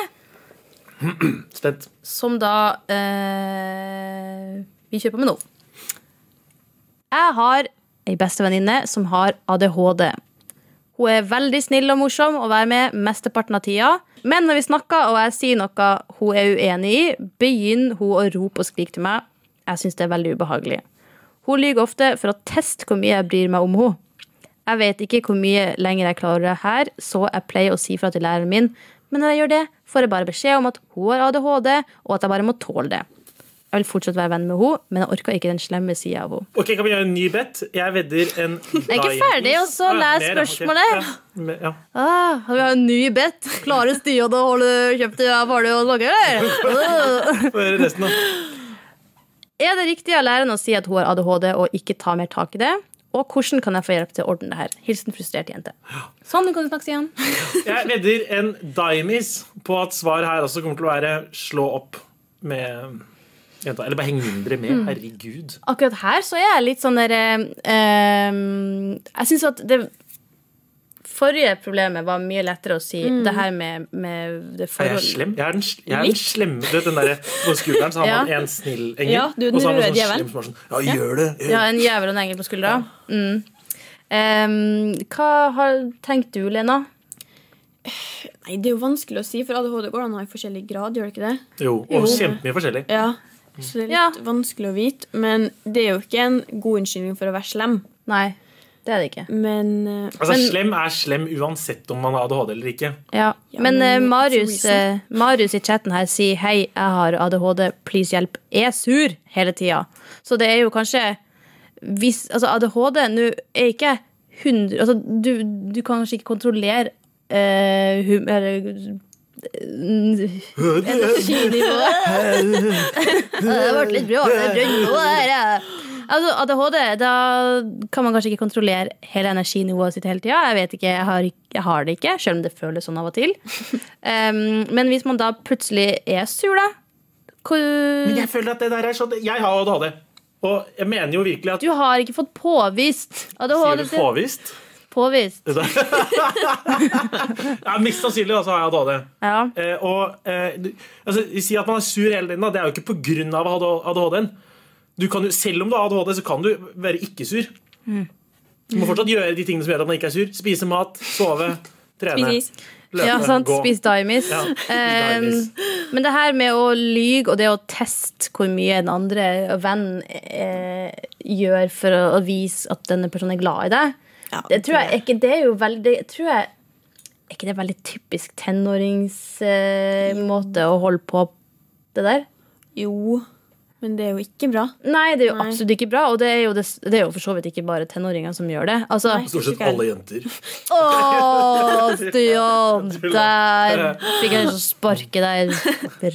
S3: Stent.
S2: som da eh, vi kjøper med nå. Jeg har ei bestevenninne som har ADHD. Hun er veldig snill og morsom å være med mesteparten av tida. Men når vi snakker og jeg sier noe hun er uenig i, begynner hun å rope og skrike til meg. Jeg syns det er veldig ubehagelig. Hun lyver ofte for å teste hvor mye jeg bryr meg om henne. Jeg vet ikke hvor mye lenger jeg klarer det her, så jeg pleier å si fra til læreren min, men når jeg gjør det, får jeg bare beskjed om at hun har ADHD, og at jeg bare må tåle det. Jeg vil fortsatt være venn med henne, men jeg orker ikke den slemme sida av henne.
S3: Ok, Kan vi gjøre en ny bet? Jeg vedder en Jeg
S2: er ikke ferdig, og så les spørsmålet.
S3: Ja.
S2: Ah, vi har en ny bet. Klarer Stian å holde kjøpt i farlig å snakke, eller?
S3: Få høre resten, da.
S2: <laughs> Er det riktig av læreren å si at hun har ADHD og ikke ta mer tak i det? Og hvordan kan jeg få hjelp til å ordne det her? Hilsen frustrert jente. Sånn kan du snakke, Stian.
S3: Jeg vedder en dimes på at svaret her også kommer til å være slå opp med jenta. Eller bare heng mindre
S4: Mm.
S3: med. Herregud.
S2: Akkurat her så er jeg litt sånn der eh, ehm, Jeg syns at det forrige problemet var mye lettere å si. Det her med, med det
S3: Er jeg
S2: forhold-
S3: slem? Jeg er den, sl- jeg er den slemme. Du vet den derre på skulderen, så har man en snill engel.
S4: Ja, du er den
S3: og så har man
S4: røde
S3: sånn
S4: djevelen.
S3: slem som er sånn Ja, gjør det!
S2: Ja, en jævel og en engel på skuldra. Mm. Ehm, hva har tenkt du, Lena?
S4: nei, det er jo vanskelig å si, for ADHD går an å ha i forskjellig grad, gjør det ikke det?
S3: Jo, og kjempemye forskjellig.
S4: Ja. Så det er litt
S2: Ja.
S4: vanskelig å vite. Men det er jo ikke en god unnskyldning for å være slem.
S2: Nei. Det er det ikke.
S4: Men eh,
S3: Altså,
S2: Men-
S3: slem er slem uansett om man har ADHD eller ikke.
S2: Ja.
S4: Ja,
S2: men
S4: men
S2: eh,
S4: it's
S2: Marius,
S4: a reason.
S2: eh, Marius i chatten her sier 'hei, jeg har ADHD, please hjelp'. Er sur hele tida. Så det er jo kanskje hvis, altså ADHD nå er ikke 100 altså, du, du kan kanskje ikke kontrollere eh, hum, eller, eh, energinivået. <laughs> Det ble litt bra. Det ble bra her, ja. Altså, ADHD, da kan man kanskje ikke kontrollere hele energinivået sitt hele tida. Jeg vet ikke, jeg har, ikk- jeg har det ikke, selv om det føles sånn av og <laughs> til. Um, men hvis man da plutselig er sur, da hvor-
S4: Mm.
S3: Men jeg føler at det der er sånn Jeg har ADHD. Og jeg mener jo virkelig at
S2: Du har ikke fått påvist
S3: Sier
S2: ADHD.
S3: du påvist? <laughs>
S2: Påvist.
S3: ja, mest sannsynlig altså, har jeg ADHD.
S2: Ja.
S3: Eh, og eh, du- altså, Si at man er sur hele tiden, da. Det er jo ikke pga. ADHD-en. Du kan jo, selv om du har ADHD, så kan du være ikke sur.
S2: Mm.
S3: Du må fortsatt gjøre de tingene som gjør at man ikke er sur. Spise mat, sove, trene,
S4: Precis.
S3: løpe,
S2: ja, sant.
S3: gå.
S2: Spis daimis. <laughs>
S3: Ja, spis
S2: Eh,
S3: daimis.
S2: men det her med å lyge og det å teste hvor mye en andre venn eh, gjør for å, å vise at denne personen er glad i deg,
S4: Ja,
S2: det tror jeg, er ikke det er jo veldig tror jeg, Er ikke det veldig typisk tenåringsmåte eh, måte å holde på det der?
S4: Jo. Men det er jo ikke bra.
S2: Nei, det er jo
S4: Nei.
S2: absolutt ikke bra, og det er jo, det, det er jo for så vidt ikke bare tenåringer som gjør det. Altså, <laughs>
S4: Nei.
S3: Stort sett alle jenter.
S2: Å, Stian!
S3: Jeg
S2: Der
S3: tuller.
S2: fikk jeg lyst til å sparke deg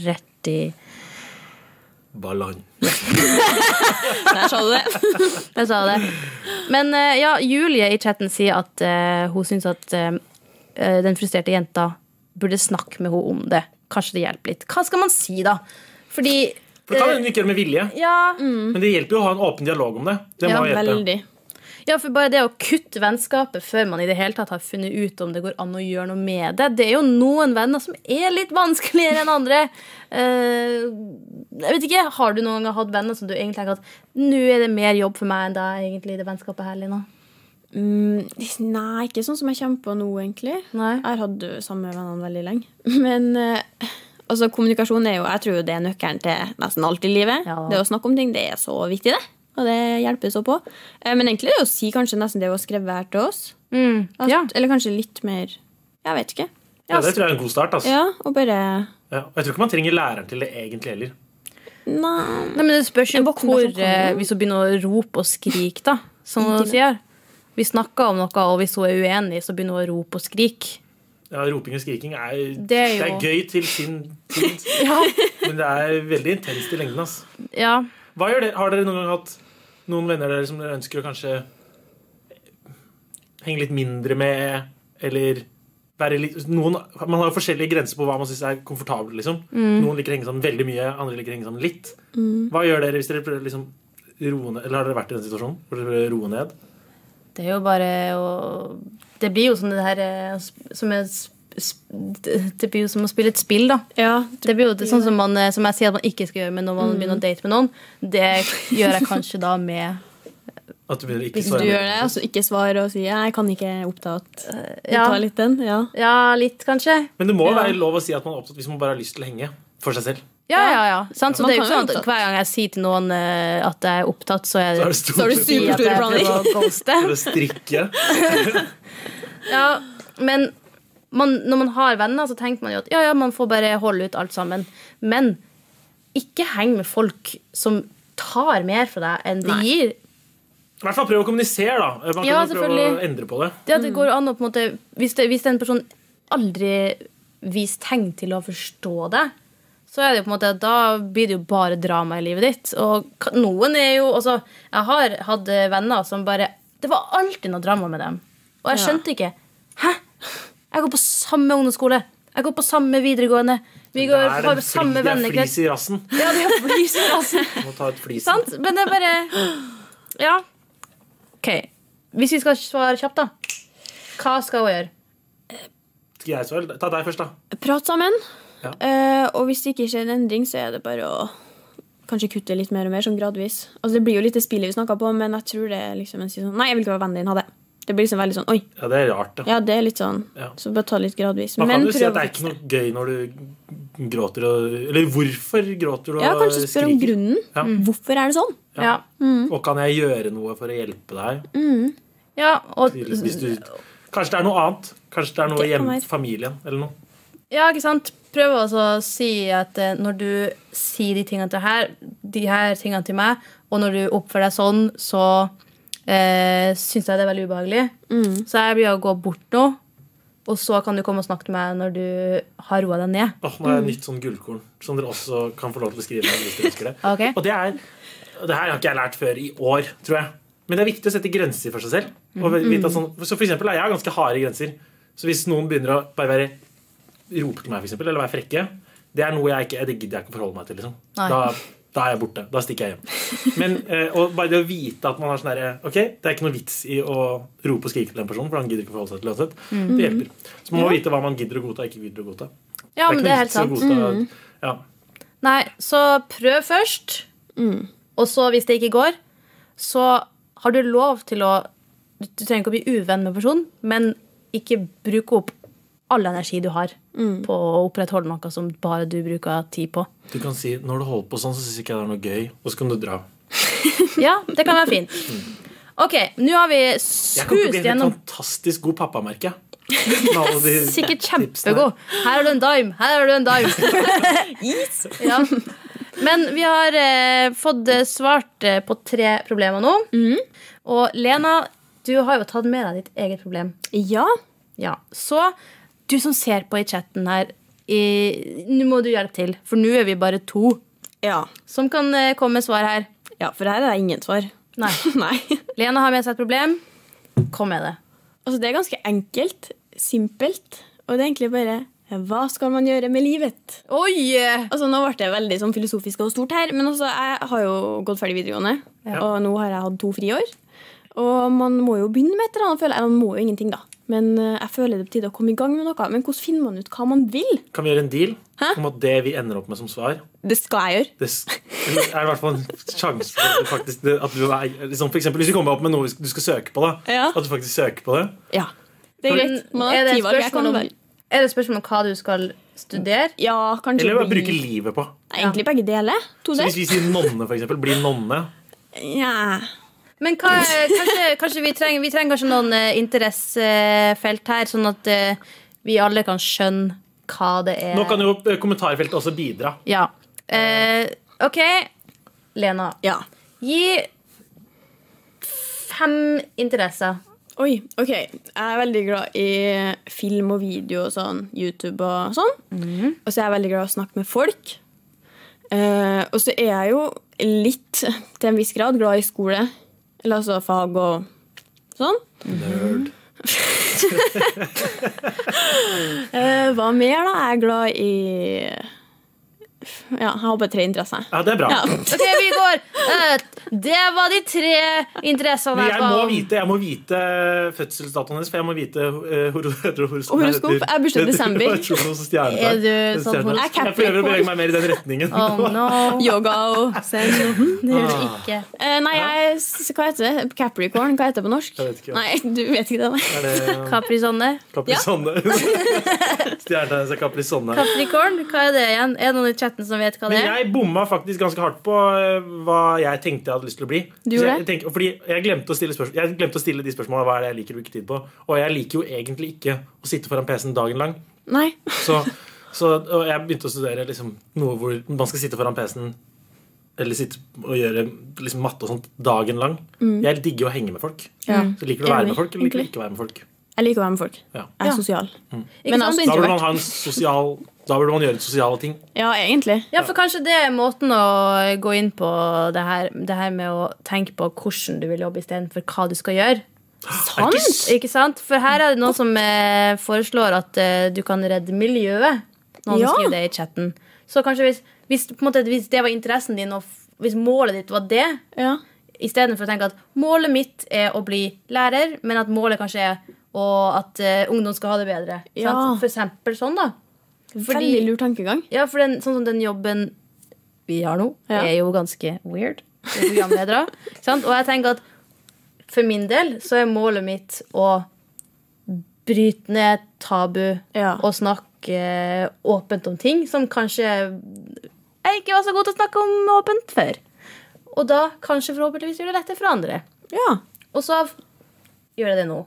S2: rett i
S3: Ballan.
S4: Der sa du det.
S2: Jeg sa det. Men eh, ja, Julie i chatten sier at eh, hun syns at eh, eh, den frustrerte jenta burde snakke med henne om det. Kanskje det hjelper litt. Hva skal man si, da? Fordi
S3: For det kan hende hun ikke gjør det med vilje,
S2: ja,
S3: men det hjelper jo å ha en åpen dialog om det. Det må
S2: Mm. Ja,
S3: <laughs> jeg gjette.
S4: Veldig.
S2: ja, for bare det å kutte vennskapet før man i det hele tatt har funnet ut om det går an å gjøre noe med det Det er jo noen venner som er litt vanskeligere enn andre. Eh, jeg vet ikke, Har du noen gang hatt venner som du egentlig tenker at nå er det mer jobb for meg enn deg, egentlig, i det vennskapet her, Lina?
S4: Mm, nei, ikke sånn som jeg kommer på nå, egentlig.
S2: Nei.
S4: Jeg har hatt ø, samme vennene veldig lenge. <laughs> Men eh, altså, kommunikasjon er jo Jeg tror jo det er nøkkelen til nesten alt i livet.
S2: Ja.
S4: Det å snakke om ting, det er så viktig, det. Og det hjelper så på. Eh, men egentlig det å si kanskje nesten det hun har skrevet her til oss.
S2: Mm,
S4: At,
S2: ja.
S4: Eller kanskje litt mer Jeg vet ikke.
S3: Ja, det tror jeg er en god start. Altså. Ja.
S4: Ja, og bare
S3: og Jeg tror ikke man trenger læreren til det egentlig heller.
S4: Nei.
S2: Nei, men Det spørs jo
S4: En voksen
S2: hvor
S4: person kan
S2: eh,
S4: jo-
S2: Hvis hun begynner å rope og skrike, da. Som hun sier. Vi snakker om noe, og hvis hun er uenig, så begynner hun å rope og skrike.
S3: Ja, roping og skriking er,
S2: Det er jo-
S3: gøy til sin
S2: <laughs>
S3: tid, men det er veldig intenst i lengden. Altså.
S2: Ja.
S3: Hva gjør dere? Har dere noen gang hatt noen venner dere som dere ønsker å kanskje henge litt mindre med, eller være litt noen, Man har jo forskjellige grenser på hva man syns er komfortabelt. Liksom. Noen liker å henge sammen veldig mye, andre liker å henge sammen litt. Hva gjør dere hvis dere prøver å liksom roe ned? Eller har dere vært i den situasjonen? Hvor dere prøver å roe ned?
S2: Det er jo bare å Det blir jo som det her eh, sp- som er sp- sp- Det blir jo som å spille et spill, da.
S4: Ja,
S2: Det blir jo Mm. det, sånn som, man, eh, som jeg sier at man ikke skal gjøre med når man begynner å date med noen. Det gjør jeg kanskje da med
S3: At du begynner å ikke
S4: hvis du
S3: svare?
S4: gjør det, altså. og så ikke svarer og sier 'jeg kan ikke jeg er opptatt',
S2: Ja,
S4: ta litt den. Ja.
S2: <laughs> ja litt, kanskje.
S3: Men det må jo
S4: Ja.
S3: være lov å si at man er opptatt hvis man bare har lyst til å henge for seg selv.
S2: Ja, ja, ja. Sant? Så
S4: Man
S2: det er jo ikke
S4: kan jo
S2: sånn at
S4: opptatt.
S2: hver gang jeg sier til noen eh, at jeg er opptatt, så er
S3: Så er
S2: det
S3: det stort
S4: Så har du
S3: sett
S2: si at
S4: superstore
S2: jeg prøver
S4: planer.
S2: å ghoste.
S3: for å strikke.
S2: Ja, men man, når man har venner, så tenker man jo at ja, ja, man får bare holde ut alt sammen. Men ikke heng med folk som tar mer fra deg enn de
S4: Nei.
S2: gir.
S3: I hvert fall prøv å kommunisere, da. Man kan
S2: Ja,
S3: jo prøve å
S2: selvfølgelig.
S3: endre på det.
S2: Det at det går an å på en måte Hvis, det, hvis en person aldri viser tegn til å forstå det, så er det jo på en måte at da blir det jo bare drama i livet ditt. Og ka- noen er jo Altså, jeg har hatt eh, venner som bare Det var alltid noe drama med dem. Og jeg
S4: Ja.
S2: skjønte ikke. Hæ? Jeg går på samme ungdomsskole. Jeg går på samme videregående. Vi går,
S3: det
S2: har
S3: er
S2: samme
S3: det er
S2: vennekrets.
S3: flis i rassen.
S2: Ja, det er flis altså. i rassen.
S3: Du Må ta ut flisen.
S2: Sant? Men det er bare Ja. OK. Hvis vi skal svare kjapt, da. Hva skal hun gjøre?
S3: Skal Jeg svare? Ta deg først, da.
S4: Prat sammen.
S3: Ja.
S4: Eh, og hvis det ikke skjer en endring, så er det bare å kanskje kutte litt mer og mer, sånn gradvis. Altså, det blir jo litt det spillet vi snakka på, men jeg tror det er liksom en sier sånn Nei, jeg vil ikke være vennen din, ha det. Det blir liksom veldig sånn Oi.
S3: Ja, det er rart, da.
S4: Ja, det er litt sånn.
S3: Ja.
S4: Så bare ta det litt gradvis.
S3: Man kan
S4: Men
S3: jo si
S4: prøv
S3: at
S4: å
S3: det er ikke
S4: fikse det.
S3: noe gøy når du gråter og Eller hvorfor gråter du og
S4: Ja, kanskje spørre om
S3: skriker?
S4: grunnen.
S3: Ja.
S4: Hvorfor er det sånn?
S3: Og kan jeg gjøre noe for å hjelpe deg?
S2: Ja, og,
S3: Hvis du, kanskje det er noe annet. Kanskje det er noe
S4: Det
S3: i
S4: kan
S3: hjem-
S4: være.
S3: familien eller noe.
S2: ja ikke sant? Prøv også å si at eh, når du sier de tingene til her, de her tingene til meg, og når du oppfører deg sånn, så eh, syns jeg det er veldig ubehagelig. Så jeg blir å gå bort nå, og så kan du komme og snakke til meg når du har roa deg ned.
S3: Åh, nå har jeg et nytt sånn gullkorn som dere også kan få lov til å skrive. ned Hvis dere ønsker det.
S2: Ok.
S3: Og det er og Det her har ikke jeg lært før i år, tror jeg. Men det er viktig å sette grenser for seg selv. Og
S2: Mm,
S3: vite at sånn, så for eksempel er jeg ganske harde grenser. Så hvis noen begynner å bare være rope til meg, for eksempel, eller være frekke, det er noe jeg ikke, det gidder jeg ikke å forholde meg til. Liksom.
S2: Nei.
S3: Da, da er jeg borte. Da stikker jeg hjem. Men, eh, og bare det å vite at man har sånn derre Ok, det er ikke noe vits i å rope og skrike til den personen, for han gidder ikke å forholde seg til det uansett.
S2: Mm.
S3: Det hjelper. Så man må vite hva man gidder å godta og ikke gidder å godta.
S2: Ja, men det
S3: ikke noe
S2: er helt
S3: vits i
S2: sant.
S3: å
S2: Mm.
S3: godta- Ja.
S2: Nei, så prøv først. Og så, hvis det ikke går, så har du lov til å Du du trenger ikke å bli uvenn med personen, men ikke bruke opp all energi du har på å opprettholde noe som bare du bruker tid på.
S3: Du kan si når du holder på sånn, så syns ikke jeg det er noe gøy. Og så kan du dra.
S2: Ja, det kan være fint. OK, nå har vi
S3: Jeg kan
S2: skust
S3: bli en
S2: gjennom
S3: fantastisk god pappa, merker jeg.
S2: <laughs> Sikkert kjempegod. Her har du en dime, her har du en dime.
S4: <laughs>
S2: ja. Men vi har eh, fått eh, svart eh, på tre problemer nå.
S4: Mm.
S2: Og Lena, du har jo tatt med deg ditt eget problem.
S4: Ja.
S2: Ja. Så du som ser på i chatten her, i- nå må du hjelpe til, for nå er vi bare to
S4: Ja.
S2: som kan eh, komme med svar her.
S4: ja, for her er det ingen svar.
S2: Nei.
S4: <laughs> Nei.
S2: Lena har med seg et problem. Kom med det.
S4: Altså, det er ganske enkelt, simpelt, og det er egentlig bare hva skal man gjøre med livet?
S2: Oi!
S4: Altså, nå ble det veldig sånn filosofisk og stort her, men altså, jeg har jo gått ferdig videregående, og nå har jeg hatt to friår. Og man må jo begynne med et eller annet, føler jeg. Man må jo ingenting, da. Men eh, jeg føler det er på tide å komme i gang med noe. Men hvordan finner man ut hva man vil?
S3: Kan vi gjøre en deal
S4: Hæ?
S3: om at det vi ender opp med som svar
S4: Det skal jeg gjøre.
S3: Det s- eller er i hvert fall en sjanse for at du faktisk, at du er liksom, For eksempel hvis du kommer opp med noe du skal søke på, da.
S4: Ja.
S3: At du faktisk søker på det.
S4: Ja. Det er greit. Man
S2: er
S4: har
S2: det, et
S4: ti valg. Jeg
S2: spørsmål
S4: kan
S2: om,
S4: vel
S2: er det et spørsmål om hva du skal studere?
S4: Ja, kanskje
S3: Eller bare
S4: bli-
S3: bruke livet på.
S4: Nei, Egentlig begge deler. To
S3: Så
S4: der.
S3: hvis vi sier nonne, for eksempel. Bli nonne.
S4: Ja.
S2: Men hva, er- kanskje, kanskje vi, trenger, vi trenger kanskje noen eh, interessefelt her, sånn at eh, vi alle kan skjønne hva det er.
S3: Nå kan jo eh, kommentarfeltet også bidra.
S2: Ja. Eh, OK, Lena.
S4: ja.
S2: Gi fem interesser.
S4: Oi, ok. Jeg er veldig glad i film og video og sånn. YouTube og sånn. Og så er jeg veldig glad i å snakke med folk. Eh, og så er jeg jo litt, til en viss grad, glad i skole. Eller altså fag og sånn.
S3: Nerd.
S4: <laughs> Eh, hva mer, da? Jeg er glad i Ja, jeg har bare tre interesser.
S3: Ja, det er bra.
S4: Ja.
S2: OK, vi går. Eh, det var de tre interessene
S3: Men jeg
S2: ba
S3: må
S2: om.
S3: vite, jeg må vite fødselsdatoen hennes, for jeg må vite eh, horo- horo- horo-
S4: Og horoskop
S3: nei, det
S4: er bursdag i
S3: det- <laughs>
S4: desember.
S3: horoskop og stjernetegn.
S2: Er du sånn
S3: Stjernetegn.
S2: horoskop?
S3: Jeg
S4: Jeg er
S3: prøver å
S4: Capricorn.
S3: bevege meg mer i den retningen. <laughs>
S2: Oh, no.
S4: Yoga og
S2: Det gjør du ikke.
S4: Eh, Nei, jeg er s- Hva heter det? Capricorn? Hva heter det på norsk?
S3: Jeg vet ikke.
S4: Nei, <laughs> du vet ikke det? nei.
S3: Er det
S2: Capri-Sonne.
S3: Caprisonne? <laughs> Stjernetegnet er Caprisonne.
S2: Capricorn, hva er det igjen? Er det noen i chatten som vet hva det
S3: Men
S2: er?
S3: jeg bomma faktisk ganske hardt på eh, hva jeg tenkte jeg hadde lyst til å bli.
S4: Du
S3: Så
S4: gjorde
S3: jeg, tenker, fordi jeg glemte å stille spørsmål Jeg glemte å stille de spørsmålene hva er det jeg liker å bruke tid på. Og jeg liker jo egentlig ikke å sitte foran PC-en dagen lang.
S4: Nei.
S3: Så, så og jeg begynte å studere liksom, noe hvor man skal sitte foran PC-en eller sitte og gjøre liksom, matte og sånt dagen lang. Jeg digger å henge med folk.
S4: Mm. Ja.
S3: Så Liker du å være
S4: Enig,
S3: med folk, eller liker du
S4: egentlig.
S3: ikke å være med folk?
S4: Jeg liker å være med folk.
S3: Ja.
S4: Jeg er
S2: Ja.
S4: sosial.
S2: Ikke
S4: Men
S2: sant?
S3: Da
S4: altså
S3: burde
S4: introvert.
S3: man ha en sosial Da burde man gjøre sosiale ting.
S4: Ja, egentlig.
S2: Ja, for kanskje det er måten å gå inn på det her, det her med å tenke på hvordan du vil jobbe istedenfor hva du skal gjøre.
S3: Er det ikke s-
S2: Ikke sant? For her er det noen som eh, foreslår at eh, du kan redde miljøet. Noen
S4: Ja.
S2: skriver det i chatten. Så kanskje hvis, hvis, på en måte, hvis det var interessen din, og f- hvis målet ditt var det,
S4: Ja.
S2: istedenfor å tenke at målet mitt er å bli lærer, men at målet kanskje er og at eh, ungdom skal ha det bedre.
S4: Ja.
S2: Sant? For eksempel sånn, da.
S4: Veldig lur tankegang.
S2: Ja, for den, sånn som den jobben vi har nå,
S4: Ja.
S2: er jo ganske weird. Vi er
S4: <laughs>
S2: Programledere. ikke sant? Og jeg tenker at for min del så er målet mitt å bryte ned tabu
S4: Ja.
S2: og snakke åpent om ting som kanskje jeg ikke var så god til å snakke om åpent før. Og da kanskje forhåpentligvis gjør det lettere for andre.
S4: Ja.
S2: Og så gjøre det nå.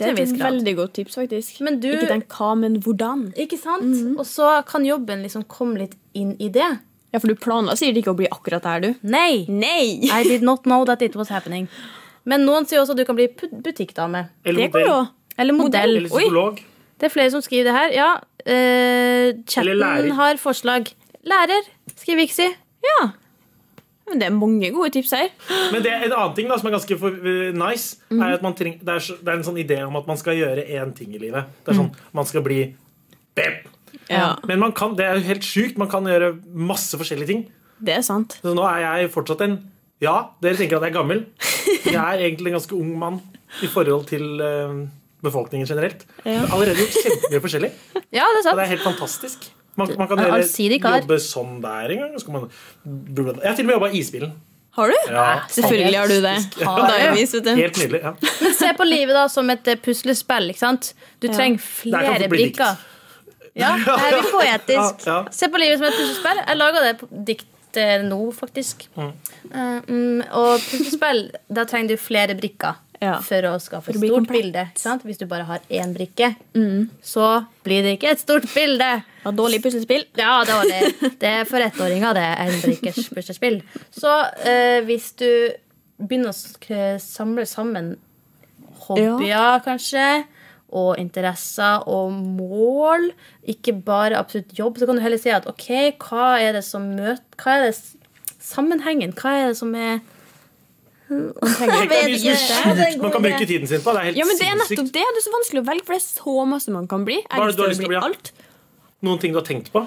S4: Det
S2: Til
S4: er
S2: en viss
S4: et
S2: grad.
S4: veldig godt tips, faktisk.
S2: Men du-
S4: Ikke tenk hva, men hvordan.
S2: Ikke sant?
S4: Mhm.
S2: Og så kan jobben liksom komme litt inn i det.
S4: Ja, For du planla sikkert ikke å bli akkurat der, du.
S2: Nei!
S4: Nei!
S2: I did not know that it was happening. Men noen sier også at du kan bli put- butikkdame.
S3: Eller
S4: Det
S3: modell.
S4: går jo.
S2: Eller modell.
S3: Eller psykolog.
S2: Det er flere som skriver det her. Ja, eh, chatten
S3: lærer.
S2: har forslag. Lærer, skriver Iksi.
S4: Ja. Men det er mange gode tips her.
S3: Men det, en annen ting da, som er ganske for, eh, nice,
S4: Mm.
S3: er at man trenger, det, er, så- det er en sånn idé om at man skal gjøre én ting i livet. Det er
S4: Mm.
S3: sånn, Man skal bli bep.
S4: Ja,
S3: Men man kan, det er jo helt sjukt. Man kan gjøre masse forskjellige ting.
S4: Det er sant.
S3: Så nå er jeg fortsatt en Ja, dere tenker at jeg er gammel. Jeg er egentlig en ganske ung mann i forhold til eh, befolkningen generelt. Jeg har allerede gjort kjempemye forskjellig.
S2: Ja, det er
S3: Og det
S2: sant.
S3: er helt fantastisk. Man, man kan
S2: En
S3: gjøre,
S2: allsidig kar.
S3: jobbe sånn der en gang. Så kan man, jeg har til og med jobba i isbilen.
S4: Har du?
S3: Ja.
S4: Selvfølgelig har du det.
S2: Har jeg.
S4: Dagens, vet du.
S3: Helt nydelig. ja
S2: Men se på livet da som et eh, puslespill. ikke sant? Du trenger
S3: Det her kan
S2: flere
S3: fort bli dikt.
S2: brikker. Ja, det her blir poetisk.
S3: Ja, ja.
S2: Se på livet som et puslespill. Jeg lager det på- dikt eh, nå, faktisk. Eh, mm, og puslespill, da trenger du flere brikker
S4: Ja.
S2: for å skaffe
S4: For
S2: et
S4: å bli
S2: stort
S4: komplett. Mm.
S2: bilde. ikke Sant? Hvis du bare har én brikke, så blir det ikke et stort bilde.
S4: Ja, dårlig puslespill.
S2: Ja, det var det. Det er for ettåringer, det. er En brikkers bursdagsspill. Så eh, hvis du begynner å sk- samle sammen hobbyer, kanskje, og interesser og mål, ikke bare absolutt jobb, så kan du heller si at OK, hva er det som møter Hva er det s- sammenhengen? Hva er det som er
S3: Tenk deg
S2: vet
S3: mye som
S2: ikke.
S3: er
S2: Ja, det er en
S3: sjukt
S2: god
S3: man kan bruke
S2: idé.
S3: tiden sin på. Det er helt
S4: Ja, men Det er nettopp
S3: sinnssykt.
S4: det. Det er så vanskelig å velge, for det er så masse man kan bli. Jeg
S3: Hva
S4: har
S3: er det du har
S4: lyst til å bli
S3: lyst
S4: alt.
S3: Noen ting du har tenkt på.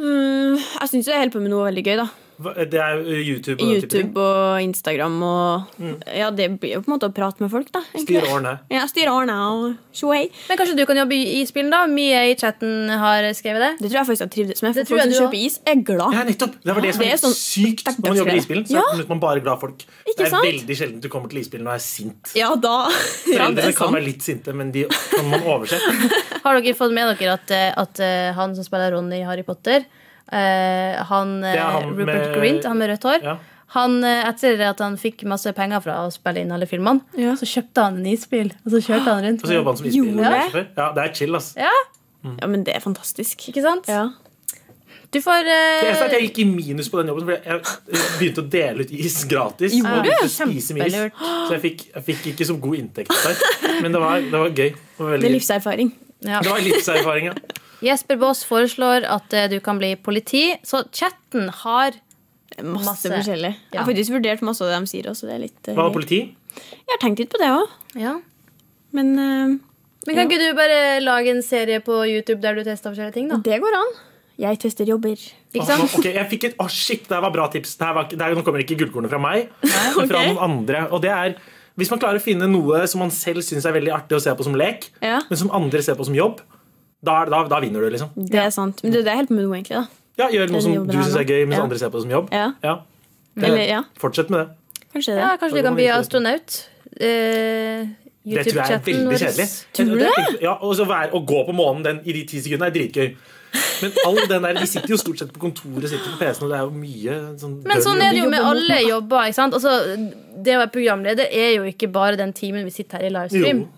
S4: Mm, jeg syns jeg holder på med noe veldig gøy, da.
S3: Hva- Det er jo YouTube og den type ting. Mm.
S4: YouTube og Instagram og Ja, det blir jo på en måte å prate med folk, da. egentlig.
S3: Styre årene.
S4: Ja, styre årene og tjo og hei.
S2: Men kanskje du kan jobbe i spillen, da? Mye i chatten har skrevet det.
S4: Det tror jeg faktisk jeg trivdes med.
S2: Det tror
S4: For folk som
S2: jeg du
S4: kjøper is, er glad.
S3: Ja, nettopp. Det var det som
S4: Det
S3: er
S4: er
S3: helt
S4: sånn
S3: sykt når man jobber i isbilen. Så
S4: Ja.
S3: er liksom man bare glad folk. Det er
S4: sant?
S3: veldig sjelden du kommer til isbilen og er sint.
S4: Ja, da ja, det
S3: Foreldrene
S4: er
S3: kan
S4: sant.
S3: være litt sinte, men de kan man overse.
S2: Har dere fått med dere at, eh, at eh, han som spiller Ronny i Harry Potter, eh, han, eh,
S3: er han
S2: Rupert
S3: med-
S2: Grint, han med rødt hår
S3: Ja.
S2: han, eh, Etter at han fikk masse penger fra å spille inn alle filmene,
S4: Ja.
S2: så kjøpte han en isbil, og så kjørte han rundt.
S3: Og så jobber han som
S4: Gjorde
S3: isbilsjåfør. Ja, det er chill, ass.
S2: Ja,
S4: Ja, men det er fantastisk.
S2: ikke sant?
S4: Ja.
S2: Du får eh,
S3: Det eneste er at Jeg gikk i minus på den jobben, for jeg begynte å dele ut is gratis.
S4: Gjorde
S3: Jeg begynte å spise mye is.
S2: Kjempelurt.
S3: Så jeg fikk, jeg fikk ikke så god inntekt der. Men det var, det var gøy. Det var,
S4: Det
S3: veldig
S4: er
S3: gøy.
S4: livserfaring.
S2: ja.
S3: Det var livserfaring, ja.
S2: Jesper Baas foreslår at eh, du kan bli politi, så chatten har
S4: Det er Masse,
S2: Masse.
S4: forskjellig. Jeg
S2: Ja.
S4: har faktisk vurdert masse av det de sier også. Det er litt, eh,
S3: Hva var
S4: gøy.
S3: politi?
S4: jeg har tenkt litt på det òg,
S2: ja.
S4: men eh,
S2: Men kan ikke du bare lage en serie på YouTube der du tester forskjellige ting, da?
S4: det går an. Jeg tester jobber.
S2: Ikke sant?
S3: Åh, ok, jeg fikk et, åh, shit, det her var bra tips. Det her var, ikke- det her, nå kommer ikke gullkornet fra meg, men fra
S4: ok.
S3: noen andre. Og det er, hvis man klarer å finne noe som man selv syns er veldig artig å se på som lek,
S4: Ja.
S3: men som andre ser på som jobb, da, er det- da, da vinner du, liksom.
S4: Det er sant. Men det er det jeg holder på med nå, egentlig. da
S3: Ja, gjør noe
S4: Den
S3: som
S4: jobben
S3: du
S4: her
S3: syns er
S4: nå.
S3: gøy, mens
S4: Ja.
S3: andre ser på det som jobb.
S4: Ja.
S3: Det-
S4: Eller, ja.
S3: Fortsett med det.
S4: Kanskje det.
S2: Ja, kanskje du kan bli astronaut. Eh,
S3: Det tror jeg er
S2: YouTube-chatten
S3: veldig
S2: vår.
S3: kjedelig.
S4: Tror du
S3: Jeg- jeg- Ja, og så være, Å gå på månen den, i de ti sekundene er dritgøy. Men all den der, de sitter jo stort sett på kontoret sitter på PC-en, og det er jo mye sånn
S2: Men sånn er
S3: døll-
S2: det jo med
S4: Jobber mot
S2: alle jobber. ikke sant? Altså, det å være programleder er jo ikke bare den timen vi sitter her i livestream.
S3: Jo.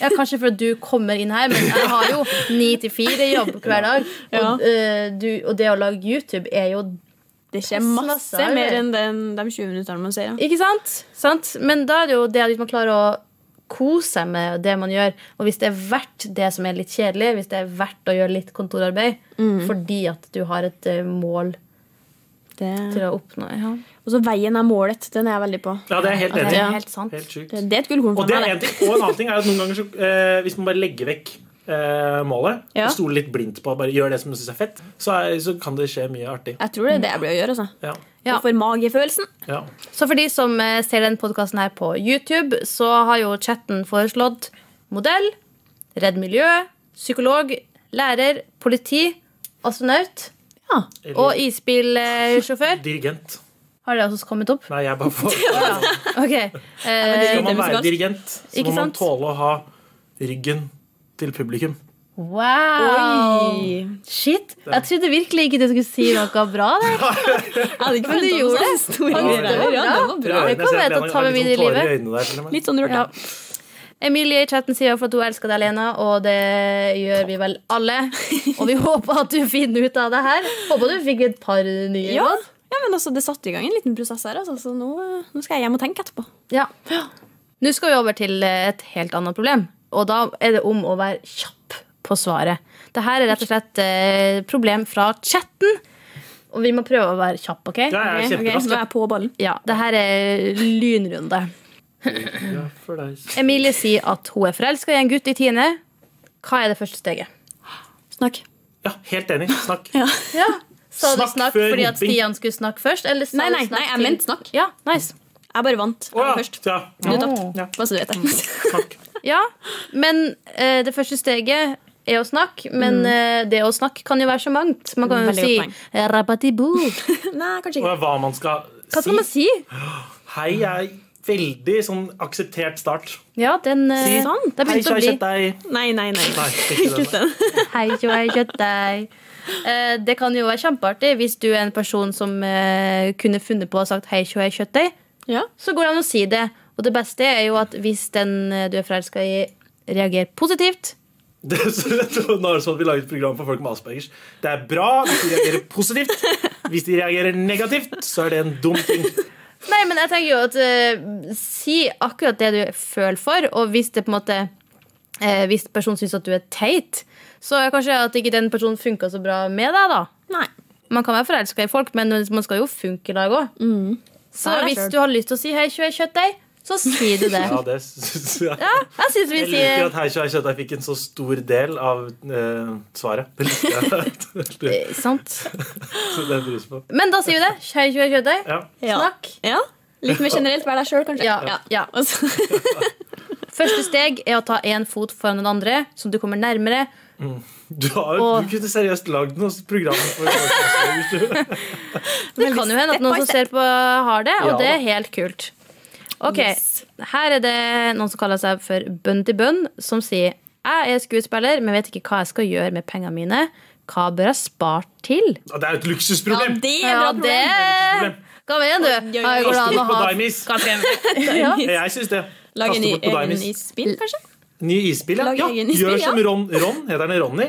S2: Ja, Kanskje fordi du kommer inn her, men jeg har
S3: <laughs>
S2: jo ni til fire-jobb hver dag. Og,
S4: Ja.
S2: eh, du, og det å lage YouTube er jo
S4: Det skjer
S2: Masse, masse
S4: masse
S2: arbeid.
S4: mer enn den, de 20 minuttene man ser. Ja.
S2: Ikke sant? sant? Men da er det jo det at hvis man klarer å kose seg med det man gjør, og hvis det er verdt det som er litt kjedelig, hvis det er verdt å gjøre litt kontorarbeid
S4: Mm.
S2: fordi at du har et eh, mål
S4: Det.
S2: til å oppnå ja.
S4: Og så veien er målet. Den er jeg veldig på.
S3: Ja, det er jeg helt enig.
S2: Det
S3: i.
S2: er helt sant.
S3: Helt sjukt.
S4: Det det er et
S3: Og
S4: gullkorn for
S3: det er en
S4: meg.
S3: ting, og en annen ting er at noen ganger så, eh, hvis man bare legger vekk eh, målet,
S4: Ja.
S3: og stoler litt blindt på og bare gjør det som man syns er fett, så, er, så kan det skje mye artig.
S4: Jeg tror det er det jeg blir å gjøre. altså.
S3: Ja,
S2: Ja.
S4: Og for magefølelsen.
S3: ja.
S2: Så for de som eh, ser den podkasten her på YouTube, så har jo chatten foreslått modell, redd miljø, psykolog, lærer, politi, astronaut
S4: Ja.
S3: Eller
S2: og isbilsjåfør.
S3: dirigent.
S2: Har det også kommet opp?
S3: Nei, jeg
S2: <laughs>
S3: bare får
S2: Ok. Eh,
S3: Skal man
S4: Musikalsk.
S3: være dirigent, så
S2: Ikke
S3: må man
S2: sant?
S3: tåle å ha ryggen til publikum.
S2: wow!
S4: Oi.
S2: Shit. Jeg trodde virkelig ikke du skulle si noe bra der.
S4: Jeg hadde ikke
S2: Men du
S4: forventet
S2: gjorde
S4: noe
S2: det.
S4: sånn stor
S2: Ja,
S4: greie.
S2: det var bra.
S4: Ja, det var bra.
S2: kommer jeg til å ta med
S3: Har litt sånn
S2: videre i
S3: tårer i øynene der, til og med.
S4: Litt sånn rørt.
S2: Ja. Emilie i chatten sier for at hun elsker deg, Lena, og det gjør vi vel alle. Og vi håper at du finner ut av det her. Håper du fikk et par nye
S4: Ja.
S2: råd.
S4: ja, men altså, det satte i gang en liten prosess her, altså, så nå, eh, nå skal jeg hjem og tenke etterpå.
S2: Ja. Nå skal vi over til eh, et helt annet problem. Og da er det om å være kjapp på svaret. Dette er rett og slett eh, problem fra chatten. Og vi må prøve å være kjapp, OK?
S3: Ja, jeg er
S4: Ok, ok,
S3: kjemperask.
S4: nå er
S3: jeg.
S4: jeg på ballen.
S2: Ja, det her er lynrunde.
S3: Ja, for deg.
S2: Emilie sier at hun er forelska i en gutt i tiende. Hva er det første steget?
S4: Snakk.
S3: Ja, helt enig. Snakk.
S2: Ja. Sa du
S3: Snakk
S2: snakk
S3: før
S2: fordi at
S3: roping.
S2: Stian skulle snakke først? Eller sa
S4: Nei,
S2: du
S4: nei,
S2: snakk
S4: nei, jeg
S2: til-
S4: mente snakk.
S2: Ja, nice.
S4: Jeg bare vant.
S3: Å
S4: Jeg var
S3: ja.
S4: først.
S3: ja.
S4: Du
S3: ja.
S4: tapte.
S3: Ja.
S4: Bare så
S2: <laughs>
S4: du vet det.
S3: Snakk.
S2: Ja, men eh, det første steget er å snakke, men eh, det å snakke kan jo være så mangt. Man kan jo
S4: Mm. Veldig godt
S2: si rabatibou.
S4: <laughs> Nei, kanskje
S3: Og
S4: ikke.
S3: hva man skal
S2: Hva skal man si?
S3: Hei er veldig sånn akseptert start.
S2: Ja, den eh,
S3: Si
S2: sånn. Det
S3: Hei,
S2: begynte å
S3: kjære
S2: bli
S3: kjøttdeig.
S4: Nei, nei, nei.
S3: Nei, ikke det.
S4: Kutt den.
S2: hei, tjo, hei, kjøttdeig. Eh, det kan jo være kjempeartig hvis du er en person som eh, kunne funnet på å ha sagt hei, tjo, hei, kjøttdeig.
S4: Ja.
S2: Så går det an å si det. Og det beste er jo at hvis den eh, du er forelska i, reagerer positivt
S3: Det, så, nå er det sånn at Vi lager et program for folk med Aspergers. Det er bra hvis de reagerer positivt. Hvis de reagerer negativt, så er det en dum ting.
S2: Nei, men jeg tenker jo at eh, Si akkurat det du føler for, og hvis det på en måte eh, Hvis personen syns at du er teit, så er kanskje at ikke den personen funka så bra med deg, da.
S4: Nei.
S2: Man kan være forelska i folk, men man skal jo funke i lag òg. Så
S4: Mm. Nei, det er
S2: hvis
S4: klart.
S2: du har lyst til å si 'hei, kjø, kjøttdeig', så sier du
S3: <laughs>
S2: det.
S3: Ja, det synes jeg.
S2: Ja, jeg syns vi
S3: Jeg liker
S2: sier
S3: at Hei Kjø, Hei Kjøttdeig fikk en så stor del av eh, svaret. <laughs> Det liker jeg.
S2: Eh, Sant.
S3: Så det bryr jeg meg om.
S2: Men da sier vi det. 'Hei, kjø, kjøttdeig'.
S3: Ja.
S4: Ja.
S2: Snakk.
S4: ja. Litt mer generelt, vær deg sjøl, kanskje.
S2: Ja, ja.
S4: Og så-
S2: Første steg er å ta én fot foran den andre, så du kommer nærmere.
S3: Du, har,
S2: Og-
S3: du kunne seriøst lagd noe program for folk med Aspergers.
S2: Det kan jo hende at
S4: step
S2: noen
S4: by
S2: som ser
S4: step.
S2: på, har det, og
S3: Ja,
S2: det er
S3: da.
S2: helt kult. Ok,
S4: Yes.
S2: Her er det noen som kaller seg for Bønn til bønn, som sier jeg er skuespiller, men vet ikke hva jeg skal gjøre med pengene mine. Hva bør jeg spart til?
S3: Og Det er jo et
S4: Ja,
S3: luksusproblem!
S4: det er
S2: Ja,
S4: bra
S2: det
S4: problem.
S2: Hva mener du?
S4: Oi, oi, oi.
S2: Her går det an å
S3: Kaste litt på
S2: ha
S3: Dimeys.
S2: Ja.
S3: Jeg syns det.
S4: Lag en
S3: Kaste
S4: ny,
S3: bort på
S4: en
S3: Dimeys.
S4: ny spill, kanskje?
S3: Ny isbil, ja.
S4: Lag
S3: ja.
S4: egen isbil,
S3: Gjør
S4: ja.
S3: som Ron, Ron heter han Ronny?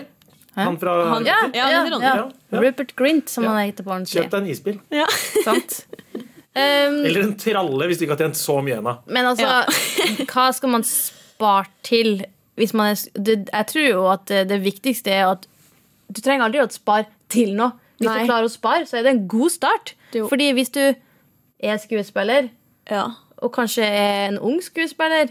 S3: Han fra
S4: Han-
S2: Ja, ja,
S4: Ja, det er
S2: ja.
S3: Ronny, ja.
S2: Rupert Grint, som
S3: Ja.
S2: han heter på ordentlig.
S3: Kjøp deg en isbil.
S4: Ja.
S3: <laughs>
S2: Sant? Um,
S3: Eller en tralle, hvis du ikke har tjent så mye ennå.
S2: Men altså, <laughs> hva skal man spare til hvis man er det, Jeg tror jo at det, det viktigste er at du trenger aldri å spare til noe. Hvis
S4: Nei.
S2: du klarer å spare, så er det en god start.
S4: Jo.
S2: Fordi hvis du er skuespiller,
S4: ja.
S2: og kanskje er en ung skuespiller,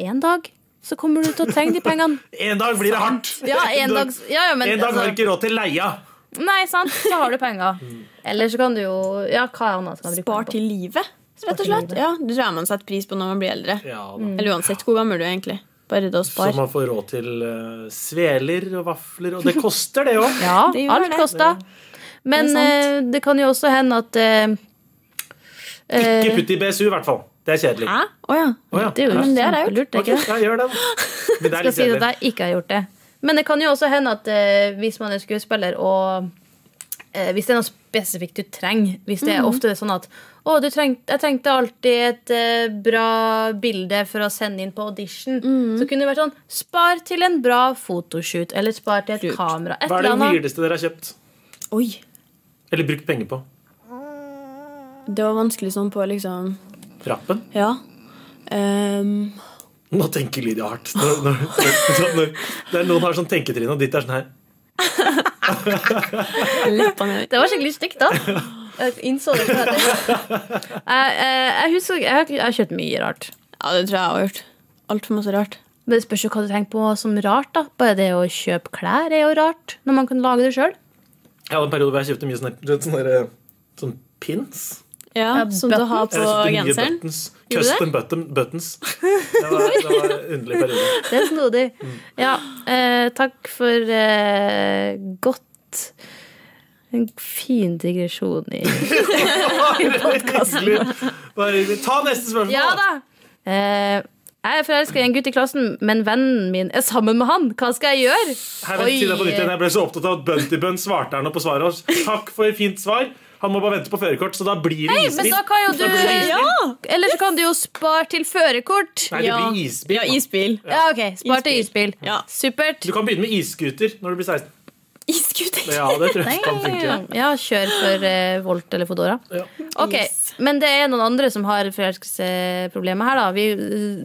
S2: en dag så kommer du til å trenge de pengene.
S3: En dag blir det hardt!
S2: Ja, en dag, ja, ja, men,
S3: en dag har du
S2: altså,
S3: ikke råd til leia.
S2: Nei, sant, så har du penger. Eller så kan du jo Ja, hva annet skal man bruke
S4: Spar
S2: penger på?
S4: til livet, Mm. rett og
S2: til
S4: slett.
S2: livet.
S4: Ja, det tror jeg man setter pris på når man blir eldre.
S3: Ja,
S2: Mm.
S3: da.
S4: Eller uansett hvor gammel du er, egentlig. Bare det å
S3: Så
S4: spare.
S3: man får råd til eh, sveler og vafler,
S2: <laughs>
S3: og det koster, det òg.
S2: Ja,
S4: <laughs> Det gjør
S2: alt
S4: det.
S2: koster. Men
S4: Det
S2: det,
S4: er sant.
S2: det kan jo også hende at eh,
S3: Ikke putt i BSU, i hvert fall. Det er kjedelig.
S4: Hæ? Å ja.
S3: Å, ja.
S2: Det er jo
S4: Men det har jeg gjort.
S2: lurt, ikke det?
S3: Ja,
S2: <laughs>
S3: gjør det, da.
S2: Skal
S3: Men det er litt
S2: si at
S3: kjedelig.
S2: jeg ikke har gjort det. Men det kan jo også hende at eh, hvis man er skuespiller og eh, hvis det er noe spesifikt du trenger Hvis det
S4: Mm.
S2: er ofte det er sånn at å, du trengte, jeg trengte alltid et eh, bra bilde for å sende inn på audition.
S4: Mm.
S2: Så kunne det vært sånn Spar til en bra fotoshoot. Eller spar til et
S4: Lurt.
S2: kamera. Et
S3: Hva er
S2: eller
S3: det
S2: annet.
S3: nyeste dere har kjøpt?
S4: Oi.
S3: Eller brukt penger på?
S4: Det var vanskelig sånn på liksom
S3: Rappen?
S4: Ja. Ehm,
S3: Nå tenker Lydia hardt. Når, når, når, når, det er noen har sånn tenketrinn, og ditt er sånn her.
S4: leppene <laughs> mine.
S2: Det var skikkelig stygt, da. Jeg innså det. på det. Jeg, jeg, jeg husker Jeg har- jeg har kjøpt mye rart.
S4: Ja, det tror jeg jeg har gjort. Altfor masse rart.
S2: Men det spørs jo hva du tenker på som rart. da Bare det å kjøpe klær er jo rart, når man kan lage det sjøl.
S3: Jeg hadde en periode hvor jeg kjøpte mye sånne, du vet, sånne, der, sånn pins.
S4: Ja, sånn
S2: Ja,
S4: Som du har
S3: Jeg
S4: på
S3: kjøpte mye
S4: genseren.
S3: Buttons,
S4: Gjorde du det?
S3: custom button, buttons. Det var, det var en underlig periode.
S2: Det er snodig. Ja, eh, takk for eh, godt En fin digresjon i
S3: Bare hyggelig. Bare hyggelig. Ta neste spørsmål!
S2: Ja da! Eh, Jeg er forelska i en gutt i klassen, men vennen min er sammen med han. Hva skal jeg gjøre?
S3: Her, vent, si det på nytt igjen. Jeg ble så opptatt av at Bunty Bun svarte her nå på svaret vårt. Takk for fint svar. Han må bare vente på førerkort, så da blir det
S2: Nei, men
S3: isbil.
S2: da kan jo du
S3: blir det isbil.
S2: Eller så kan du jo spare til førerkort.
S3: Nei, det blir isbil.
S4: Ja,
S3: da.
S4: isbil.
S2: Ja, ok, Spar til
S4: Isbil.
S2: isbil.
S4: Ja.
S2: Supert.
S3: Du kan begynne med isscooter når du blir 16.
S4: Iskuter.
S3: Ja, det tror jeg kan funke.
S2: Ja, kjør for eh, Volt eller Fodora.
S3: Ja.
S2: Ok,
S4: Yes.
S2: Men det er noen andre som har forelskelsesproblemer her, da. Vi,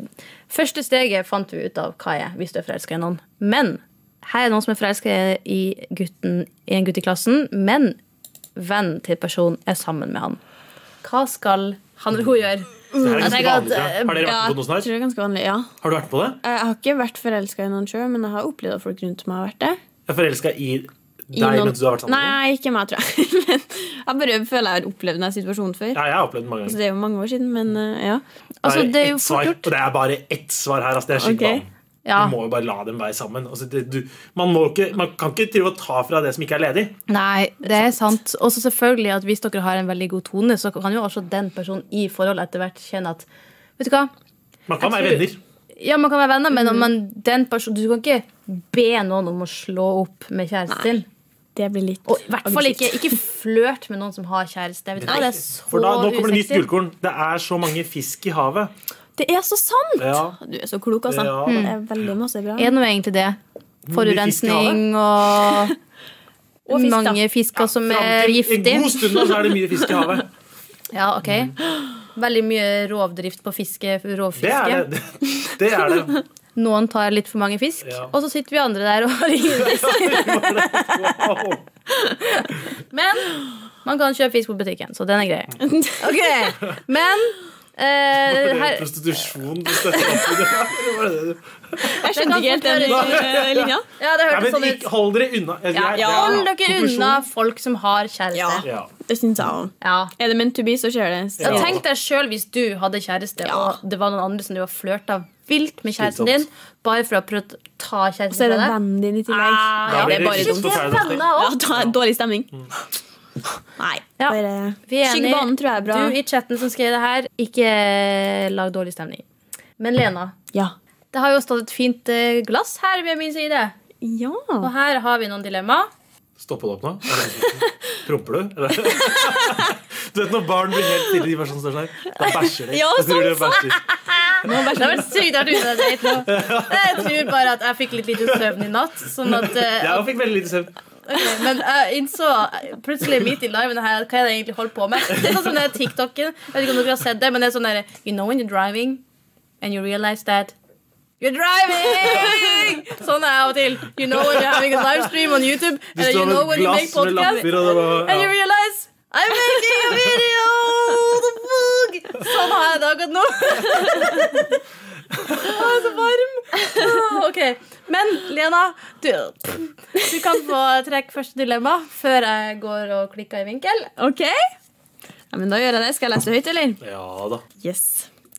S2: første steget fant vi ut av hva er, hvis du er forelska i noen. Men her er noen som er forelska i, gutten- i en gutt i klassen, men vennen til personen er sammen med han. Hva skal han eller hun gjøre?
S3: Det her er
S2: Jeg
S3: ganske
S2: tenker at,
S3: vanlig. tror jeg. Har dere vært
S4: eh, Ja,
S3: på
S4: jeg
S3: noe
S4: tror
S3: sånt her?
S4: det er ganske vanlig, ja.
S3: Har du vært på det?
S4: Jeg har ikke vært forelska i noen sjøl, men jeg har opplevd at folk rundt meg har vært det.
S3: Jeg er forelska i
S4: I
S3: deg
S4: noen-
S3: mens du har vært sammen med noen.
S4: Nei, ikke meg, tror jeg. <laughs> Men jeg bare føler jeg har opplevd denne situasjonen før.
S3: Ja, jeg har opplevd det mange
S4: Så
S3: ganger.
S4: det er jo mange år siden, men eh, ja.
S2: Altså,
S3: Bare
S2: det er jo
S3: ett
S2: fort
S3: svar,
S2: gjort.
S3: Og det er bare ett svar her. Altså, det er
S4: Ok.
S3: skikkelig
S2: Ja.
S3: Du må jo bare la dem være sammen. Altså, det, du, man, må ikke, man kan ikke drive og ta fra det som ikke er ledig.
S2: Nei, det er sant. Og så selvfølgelig at hvis dere har en veldig god tone, så kan jo også den personen i forhold etter hvert kjenne at Vet du hva?
S3: Man kan
S2: Jeg
S3: være
S2: tror-
S3: venner.
S2: Ja, man kan være venner, men,
S3: Mm.
S2: men den personen Du kan ikke be noen om å slå opp med kjæresten din.
S4: Det blir litt
S2: Og i hvert fall ikke, ikke flørt med noen som har kjæreste. Vet du, hva, det er så
S3: For da, nå kommer det nytt
S2: usexy.
S3: gullkorn. Det er så mange fisk i havet.
S4: Det er så sant!
S3: Ja.
S4: Du er så klok, altså.
S3: Ja.
S4: Det er veldig masse bra.
S2: Er det nå egentlig det? Forurensning
S3: <laughs>
S2: og
S4: Og fisk, da.
S2: mange fisker som
S3: Fram
S2: er
S3: til En god
S2: giftige.
S3: stund nå så er det mye fisk i
S2: <laughs>
S3: havet.
S2: Ja, ok. <gasps> Veldig mye rovdrift på fiske,
S3: Det er
S2: rovfiske.
S3: det. det, <laughs>
S2: <laughs>
S3: er det.
S2: Noen tar litt for mange fisk,
S3: Ja.
S2: og så sitter vi andre der og har
S3: <laughs>
S2: ingenting.
S3: Wow.
S2: Men man kan kjøpe fisk på butikken, så den er
S3: Mm.
S2: grei. Ok, Men eh,
S3: Det er
S2: her,
S3: Prostitusjon. du støtter
S2: <laughs>
S3: opp i det. Det var det du-
S4: Jeg skjønte ikke helt
S2: Det
S3: <laughs>
S2: kan
S4: den eh, linja.
S2: Ja, det
S3: Nei,
S2: hørtes
S3: men
S2: sånn ut.
S3: ikke- Hold dere unna. Jeg-
S4: Ja,
S3: jeg-
S4: ja.
S2: Hold
S3: ja.
S2: dere
S3: Konklusjon.
S2: unna folk som har kjæreste.
S3: Ja.
S4: Det syns jeg òg.
S2: Ja.
S4: Er det meant to be, så skjer det. Så.
S2: Ja, Tenk deg sjøl hvis du hadde kjæreste,
S4: Ja.
S2: og det var noen andre som du har flørta vilt med kjæresten din,
S3: Slitsomt.
S2: bare for å prøve å ta
S4: Så
S2: kjæresten
S4: er det
S2: fra deg.
S4: vennen din i tillegg.
S3: Da
S2: Ah,
S4: Ja,
S3: blir
S4: det er bare
S3: litt
S4: dumt.
S2: Det er
S3: forferdelig.
S2: venner
S4: Ja,
S2: også.
S4: da er dårlig stemning.
S3: Mm.
S4: Nei,
S2: Ja.
S4: bare
S2: Vi er
S4: Skygg banen tror jeg er bra.
S2: Du i chatten som skrev det her, ikke eh, lag dårlig stemning. Men Lena,
S4: Ja.
S2: det har jo stått et fint eh, glass her ved min side.
S4: ja.
S2: Og her har vi noen dilemma.
S3: Stopper det opp nå? Promper du? Eller? <laughs> Du vet når barn blir helt stille, de bare sånn står sånn her. Da bæsjer de.
S4: Ja, sånn,
S3: Da tror de bæsjer.
S2: Det har vært sykt artig uten date nå. Jeg tror bare at jeg fikk litt lite søvn i natt. Sånn at, eh,
S3: Jeg fikk veldig lite søvn.
S2: ok, men jeg innså plutselig midt i liven her hva er det jeg egentlig holder på med. Det er sånn som den TikToken. Jeg vet ikke om dere har sett det, men det er sånn der You know when you're driving and you realize that You're driving! Sånn er jeg av og til. You know when you're having a livestream on YouTube.
S3: Du
S2: Eller you
S3: står
S2: know
S3: med
S2: when
S3: et
S2: you make
S3: glass
S2: podcast.
S3: med lapper, og det var
S2: And you
S3: ja.
S2: realize I'm making a video! What the fuck? Sånn har jeg det akkurat nå. Å, <laughs> jeg er så varm. Å, Ok. Men Lena, du, du kan få trekke første dilemma før jeg går og klikker i vinkel.
S4: OK. Ja, men da gjør jeg det. Skal jeg lese høyt, eller?
S3: ja da.
S4: Yes.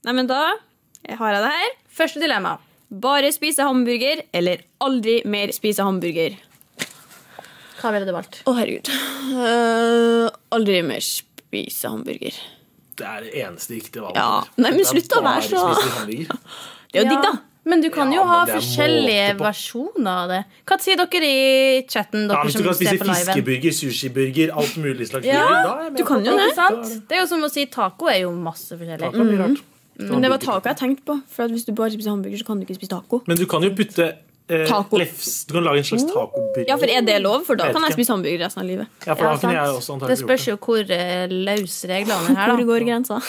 S4: Nei, men da har jeg det her.
S2: Første dilemma.
S4: Bare spise hamburger eller aldri mer spise hamburger.
S2: Hva ville du valgt?
S4: Å, herregud. Eh, aldri mer spise hamburger.
S3: Det er det eneste riktige valget.
S4: Ja. Nei,
S3: Det
S4: men
S3: er
S4: slutt å
S3: bare
S4: være så-
S3: spise hamburger.
S4: Det er jo digg, da.
S2: Men du kan
S3: Ja,
S2: jo ha
S3: men det er
S2: forskjellige
S3: måte på.
S2: versjoner av det. Hva sier dere i chatten?
S3: Ja,
S2: Dere
S3: hvis du
S2: som
S3: kan spise
S2: ser på liven?
S3: fiskeburger, sushiburger, alt mulig slags
S2: Ja,
S3: burger, da er jeg med
S4: du kan
S3: på
S4: jo
S3: det.
S2: Ikke sant? Det er jo som å si taco er jo masse forskjellig.
S3: Taco blir rart.
S4: Mm, Men det var taco jeg tenkte på. For at hvis du bare spiser hamburger, så kan du ikke spise taco.
S3: Men du kan jo putte eh,
S4: Taco. Mm.
S3: lefs Du kan lage en slags tacoburger.
S4: Ja, for er det lov? For da
S3: Jeg vet
S4: kan jeg
S3: ikke.
S4: spise hamburger resten av livet.
S3: Ja, for da
S2: Ja,
S3: kunne jeg
S2: sant.
S3: også
S2: det
S3: antakelig
S2: spørs
S3: gjort det.
S2: jo hvor eh, løs <laughs> reglene er
S4: Hvor
S2: her, da.
S4: går grensa?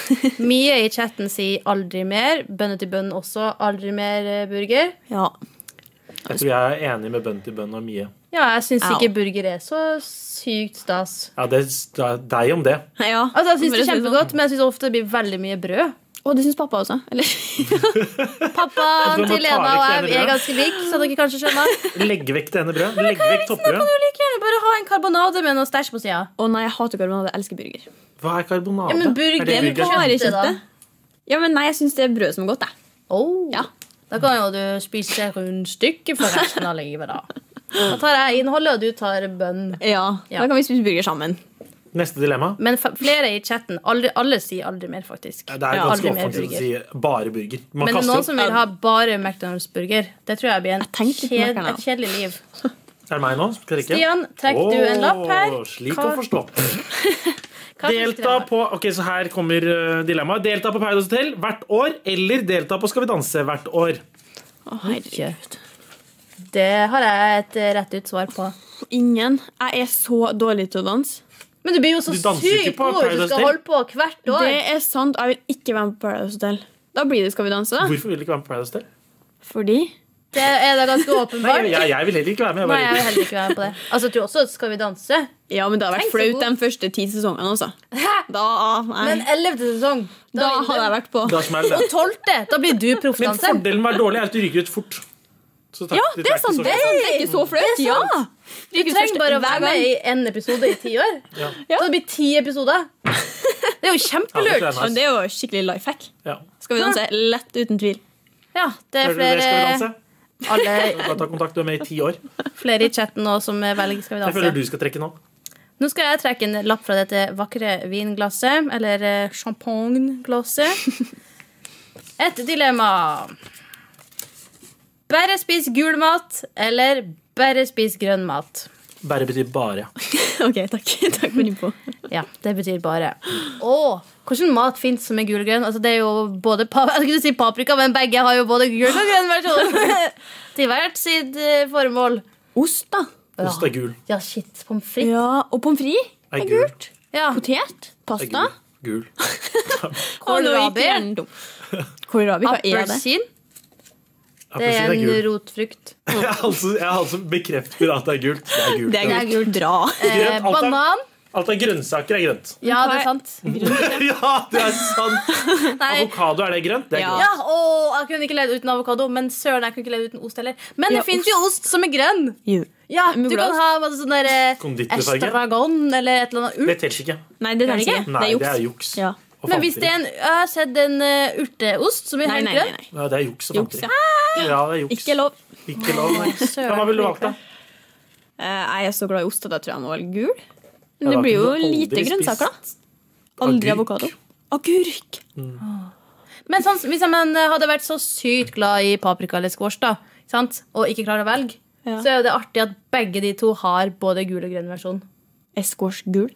S2: Mye i chatten sier 'aldri mer'. Bønne til bønn også. Aldri mer eh, burger.
S4: <laughs> Ja.
S3: Jeg tror jeg er enig med Bunty Bun og Mie.
S2: Ja, jeg syns
S4: Ja.
S2: ikke burger er så sykt stas.
S3: Ja, det er deg om det.
S4: ja.
S2: Altså, Jeg syns det
S4: Bare
S2: er
S4: sånn-
S2: kjempegodt, men jeg syns ofte det blir veldig mye brød.
S4: Og det syns pappa også. Eller?
S2: <laughs>
S4: <laughs>
S2: Pappaen
S3: Jeg tror man
S2: til
S3: tar
S2: Lena og
S3: vekk
S2: jeg
S3: det
S2: vi er
S3: brødet.
S2: ganske like, så dere kanskje skjønner.
S3: Legg vekk det ene brødet. Legg
S2: Da
S3: vekk
S2: kan
S3: toppbrødet.
S2: <laughs> du like gjerne bare ha en karbonade med noe stæsj på sida.
S4: Å nei, jeg hater karbonade. Jeg elsker burger.
S3: Hva er karbonade?
S2: Ja, men burger-
S3: er det
S2: Hva
S3: burger?
S2: er
S4: Bare
S2: kjøttet, da?
S4: kjøttet. Ja, men nei, jeg syns det er brød som er godt, jeg.
S2: Oh.
S4: Ja.
S2: Da kan jo du spise rundstykket for resten <laughs> av livet, da. Da tar jeg innholdet, og du tar bønn.
S4: Ja,
S2: Ja.
S4: Da kan vi spise burger sammen.
S3: Neste dilemma.
S2: Men fa- flere i chatten aldri, Alle sier aldri mer, faktisk.
S3: Det er ganske
S2: aldri mer
S3: offensivt å
S2: burger.
S3: si bare burger. Man
S2: Men
S3: kaster
S2: noen
S3: opp.
S2: som vil ha bare McDonald's-burger, det tror jeg blir en
S4: tenkte litt på
S2: kjed,
S4: McDonald's.
S2: et kjedelig liv.
S3: Er det meg nå? Skal jeg trekke?
S2: Stian, trekk du en lapp her?
S3: Åh, Slik
S2: Hva-
S3: å forstå.
S2: Hva slags
S3: Delta
S2: dilemma?
S3: på Ok, så her kommer eh, dilemmaet. Delta på Paradise Hotel hvert år, eller delta på Skal vi danse hvert år.
S4: Å, herregud.
S2: Kjøtt. Det har jeg et eh, rett ut svar på.
S4: Ingen. Jeg er så dårlig til å danse.
S2: Men du blir jo så
S3: Du danser jo ikke
S2: sykt
S3: på
S2: god hvis du
S3: Paradise
S2: skal
S3: Hotel.
S2: holde på hvert år.
S4: Det er sant. Jeg vil ikke være med på Paradise Hotel. Da blir det Skal vi
S2: Ah.
S4: danse, da.
S3: Hvorfor vil du ikke være med på Paradise Hotel?
S4: Fordi
S2: Det er da
S4: <laughs>
S2: ganske
S3: Nei,
S2: åpenbart.
S3: jeg, jeg vil heller ikke være med. Jeg
S2: Nei,
S3: bare
S2: jeg vil heller ikke være med på det. Altså, jeg tror også Skal vi danse.
S4: Ja, men det har vært
S2: Tenk så
S4: flaut
S2: god.
S4: de første ti sesongene også. Da, nei.
S2: Men ellevte sesong.
S4: da
S2: vil
S4: hadde jeg vært på.
S3: Da smeller det.
S2: Tolvte! Da blir du
S3: Men
S2: proffdanser.
S3: fordelen med å være dårlig er at du ryker ut fort. Så takk,
S4: Ja,
S3: dette
S4: det er
S3: ikke
S4: sant.
S3: så
S4: Det er, sant. Det er ikke så flaut.
S2: Det er
S4: Ja.
S2: sant. Du trenger bare å være med i én episode i ti år.
S3: Ja.
S2: Så det blir ti episoder. Det er jo
S3: Ja, det
S2: kjempelurt.
S3: tror jeg
S4: Men det er jo skikkelig life hack.
S3: Ja.
S4: Skal vi danse? Lett, uten tvil. <laughs>
S2: Ja, det er
S3: Hører du det, Skal vi
S2: flere,
S3: danse?
S2: alle,
S3: Bare ta kontakt, du er med i ti år.
S2: flere i chatten nå som velger Skal vi
S3: Jeg føler
S2: danse.
S3: du skal trekke nå.
S2: Nå skal jeg trekke en lapp fra dette vakre vinglasset, eller eh, champagneglasset. Et dilemma. Bare spis gul mat, eller bare spis grønn mat.
S3: Bare betyr bare.
S4: Ok, takk. <laughs> Takk for innpå.
S2: Ja, det betyr bare. Å, hvordan mat fins som er gulgrønn? Altså, det er jo både pa <laughs> jeg skulle si paprika, men begge har jo både gul og grønn versjon. <laughs> Til hvert sitt eh, formål.
S4: Ost, da.
S3: Ost er gul.
S2: Ja, shit. Pommes frites.
S4: Ja, Og pommes frites.
S3: Er gul.
S2: Ja.
S4: Potet.
S3: Er
S4: Pasta.
S3: gul. gul.
S2: Kålrabi.
S4: <laughs> Kålrabi, hva er det?
S2: Appelsin. Det
S3: Appelsin
S2: er
S3: er
S2: en
S3: gul.
S2: rotfrukt.
S3: <laughs> Jeg altså, jeg altså bekrefter at det er gult. Det er gult.
S4: Det er gult. Bra.
S2: Eh,
S3: alt er-
S2: banan.
S3: Alt av grønnsaker er grønt.
S2: Ja, det er sant.
S3: <laughs> ja, det er sant!
S2: <laughs> Nei.
S3: Avokado, er det grønt? Det er
S4: Ja.
S3: grønt.
S2: Ja, å, jeg kunne ikke levd uten avokado, men søren, jeg kunne ikke levd uten ost heller. Men
S4: Ja,
S2: det fins jo ost som er grønn.
S4: <laughs> Jo.
S2: Ja,
S4: Men
S2: Du
S4: hvordan?
S2: kan ha masse sånn der eh,
S3: Konditorfarge?
S2: estragon eller et eller annet urt.
S3: Det teller ikke.
S4: Nei, det
S2: Gjør
S4: er
S2: det
S4: ikke.
S2: ikke?
S4: Det
S3: Nei,
S4: er
S3: det er
S4: juks.
S3: juks.
S4: Ja.
S3: Og
S2: Men hvis det er
S3: fanteri.
S2: en, jeg har sett en eh, urteost som er
S4: Nei,
S2: helt
S4: nei, nei,
S2: grønn.
S4: nei.
S3: Ja, det er juks og
S4: Juks,
S3: fanteri.
S4: ja.
S3: Ja, det er juks.
S4: Ikke lov.
S3: Ikke lov. nei.
S2: søren.
S3: Ja, Hva ville du valgt, da?
S4: Eh, Jeg er så glad i ost at jeg tror jeg må velge gul.
S3: Ja,
S4: Men det
S3: da
S4: blir jo
S3: kunne du aldri
S4: lite grønnsaker, da.
S3: agurk.
S4: Aldri avokado. Agurk.
S2: Men sånn, hvis man hadde vært så sykt glad i paprika eller squash, da, ikke sant? og ikke klarer å velge,
S4: Ja.
S2: så er jo det artig at begge de to har både gul og grønn versjon.
S4: Er squash gul?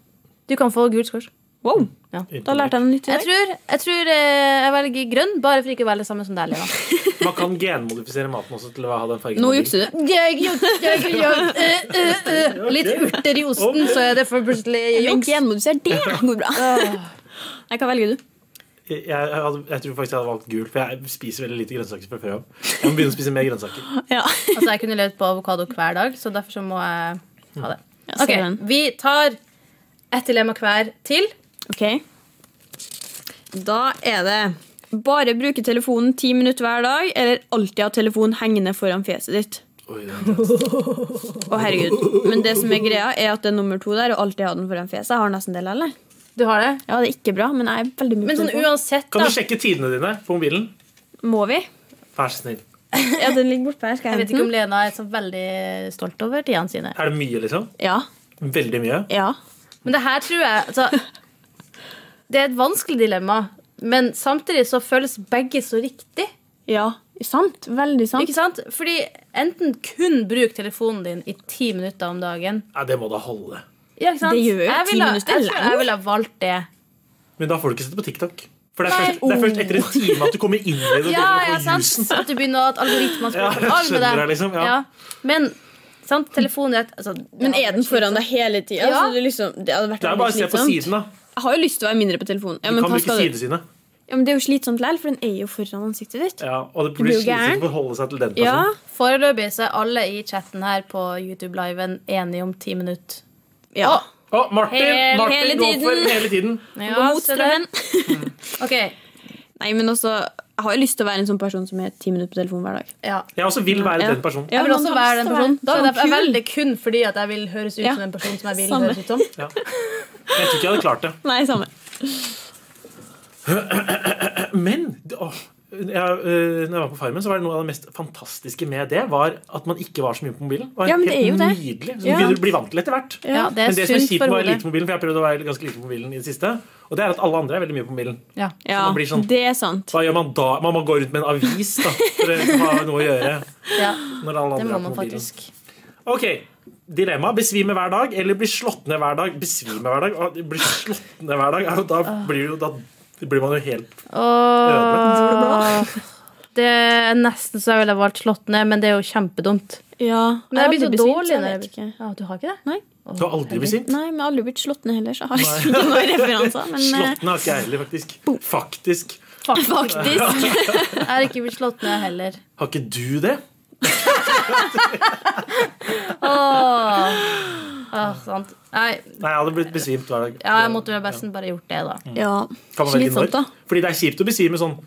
S2: Du kan få gul squash.
S4: Wow.
S2: Ja.
S4: Da lærte jeg noe nytt i
S2: Jeg
S4: dag.
S2: tror, jeg, tror eh, jeg velger grønn, bare for ikke å velge det samme som deg, Lena.
S3: Man kan genmodifisere maten også til å ha den fargen.
S4: Nå
S3: man vil.
S4: jukser du.
S2: <laughs> Jeg, jeg, jeg, jeg, eh, eh, eh. Litt urter i osten, så er det for plutselig
S4: Men
S2: juks. Altså,
S4: genmodifisert, det går <laughs> bra. Nei, hva velger du?
S3: Jeg, jeg, hadde, jeg tror faktisk jeg hadde valgt gul, for jeg spiser veldig lite grønnsaker fra før av. Jeg må begynne å spise mer grønnsaker.
S4: <laughs> Ja.
S2: Altså, jeg kunne levd på avokado hver dag, så derfor så må jeg ha det.
S4: Ja,
S2: Ok,
S4: ser den.
S2: Vi tar ett dilemma hver til.
S4: Ok. Da er det bare bruke telefonen ti minutter hver dag, eller alltid ha telefonen hengende foran fjeset ditt.
S3: Oi, det er-
S4: Å, herregud. Men det som er greia, er at det er nummer to der, og alltid ha den foran fjeset. Jeg har nesten det, eller?
S2: Du har det?
S4: Ja, det er ikke bra, men jeg er veldig mye
S2: Men sånn
S4: telefon.
S2: uansett,
S3: Kan
S2: da.
S3: du sjekke tidene dine på mobilen?
S4: Må vi?
S3: Vær så snill.
S4: <laughs> Ja, den ligger borte her. Skal
S2: Jeg
S4: jeg
S2: vet ikke
S4: hente
S2: om
S4: den?
S2: Lena er så veldig stolt over tidene sine.
S3: Er det mye, liksom?
S4: Ja.
S3: Veldig mye?
S4: Ja.
S2: Men det her tror jeg altså, Det er et vanskelig dilemma, men samtidig så føles begge så riktig.
S4: Ja. Sant. Veldig sant.
S2: Ikke sant? Fordi enten kun bruk telefonen din i ti minutter om dagen.
S3: Nei, det må da holde.
S2: Ja, ikke sant?
S4: Det gjør jo
S2: Jeg
S4: ti
S2: ville-
S4: minutter
S2: Jeg tror jeg
S4: lang.
S2: ville ha valgt det.
S3: Men da får du ikke sette på TikTok. For det er,
S2: Nei.
S3: først, det er først etter en time at du kommer inn i det. og
S2: Ja, ja,
S3: begynner å få jusen.
S2: sant? At du begynner at algoritmene skal
S3: Ja, jeg
S2: av med
S3: skjønner
S2: deg.
S3: det, liksom, ja.
S2: Men sant, telefonen er et- altså,
S4: Men er den foran deg hele tida?
S2: Ja.
S4: Så det, liksom, det hadde vært
S3: Det er bare å se
S4: veldig
S3: på
S4: slitsomt.
S3: siden, da.
S4: Jeg har jo lyst til å være mindre på telefonen. Ja,
S3: Du
S4: men,
S3: kan
S4: hva
S3: bruke
S4: skal du?
S3: sidesynet.
S4: Ja, men det er jo slitsomt likevel, for den er jo foran ansiktet ditt.
S3: Ja, og det
S4: blir
S3: blir
S4: jo gæren.
S3: slitsomt å forholde seg til den
S4: Ja.
S3: personen.
S2: Foreløpig så er alle i chatten her på YouTube-liven enige om ti minutter.
S4: ja.
S3: Å, Martin,
S2: Hele-
S3: Martin
S4: hele
S3: går
S4: tiden.
S3: for hele tiden.
S4: Gå
S2: Ja,
S4: mot
S2: se det.
S4: strømmen.
S2: Ok,
S4: <laughs> Nei, men også, jeg har jo lyst til å være en sånn person som er ti minutter på telefonen hver dag.
S2: ja.
S3: Jeg også vil være
S4: Ja.
S3: den personen.
S2: Jeg vil også være den personen. Da er det- jeg
S4: veldig
S2: velger kun fordi at jeg vil høres ut
S4: Ja.
S2: som den personen som jeg vil
S4: Samme.
S2: høres ut som.
S3: Ja. Jeg tror ikke jeg hadde klart det.
S4: Nei, samme.
S3: Men det- åh, jeg, øh, når jeg var på Farmen, så var det noe av det mest fantastiske med det, var at man ikke var så mye på mobilen. Det var
S4: Ja, men det er jo
S3: helt
S4: det.
S3: nydelig. Så
S4: Ja.
S3: du blir vant til etter hvert.
S2: Ja, det er
S3: Men det som er
S2: sunt
S3: kjipt
S2: for
S3: med å være lite
S2: hodet.
S3: på mobilen, for jeg har prøvd å være ganske lite på mobilen i det siste, og det er at alle andre er veldig mye på mobilen.
S2: Ja.
S4: Ja,
S3: man blir sånn-
S4: det er sant.
S3: Hva gjør man da? Man må gå rundt med en avis da, for å liksom ha noe å gjøre
S2: ja,
S3: når alle
S2: det må
S3: andre er på
S2: man
S3: mobilen.
S2: faktisk.
S3: Ok, dilemma. Besvime hver dag eller bli slått ned hver dag? Besvime hver dag? og Bli slått ned hver dag? er jo- Da
S2: Ah.
S3: blir, jo, da blir man jo helt
S2: Åh, det er nesten så jeg ville valgt slått ned, men det er jo kjempedumt.
S4: Ja.
S2: Men jeg blir så
S4: aldri besvimt,
S2: dårlig
S4: så jeg
S2: når jeg
S4: vet ikke.
S2: Ja, du har ikke det?
S4: Nei.
S2: Åh,
S3: Du har aldri blitt sint?
S4: Nei, men jeg har aldri blitt slått ned heller, så jeg har ikke noen referanser. Men eh,
S3: Slått ned har ikke jeg heller, faktisk. Faktisk.
S2: Fuck.
S4: faktisk.
S2: Jeg har ikke blitt slått ned heller.
S3: Har ikke du det?
S2: Åh. Åh, sant. Nei,
S3: Nei, jeg hadde blitt besvimt hver dag.
S2: ja, jeg måtte vel best bare gjort det, da.
S4: Ja.
S3: Kan man velge
S4: Slitsomt,
S3: når?
S4: sånn, da.
S3: Fordi det er kjipt å besvime sånn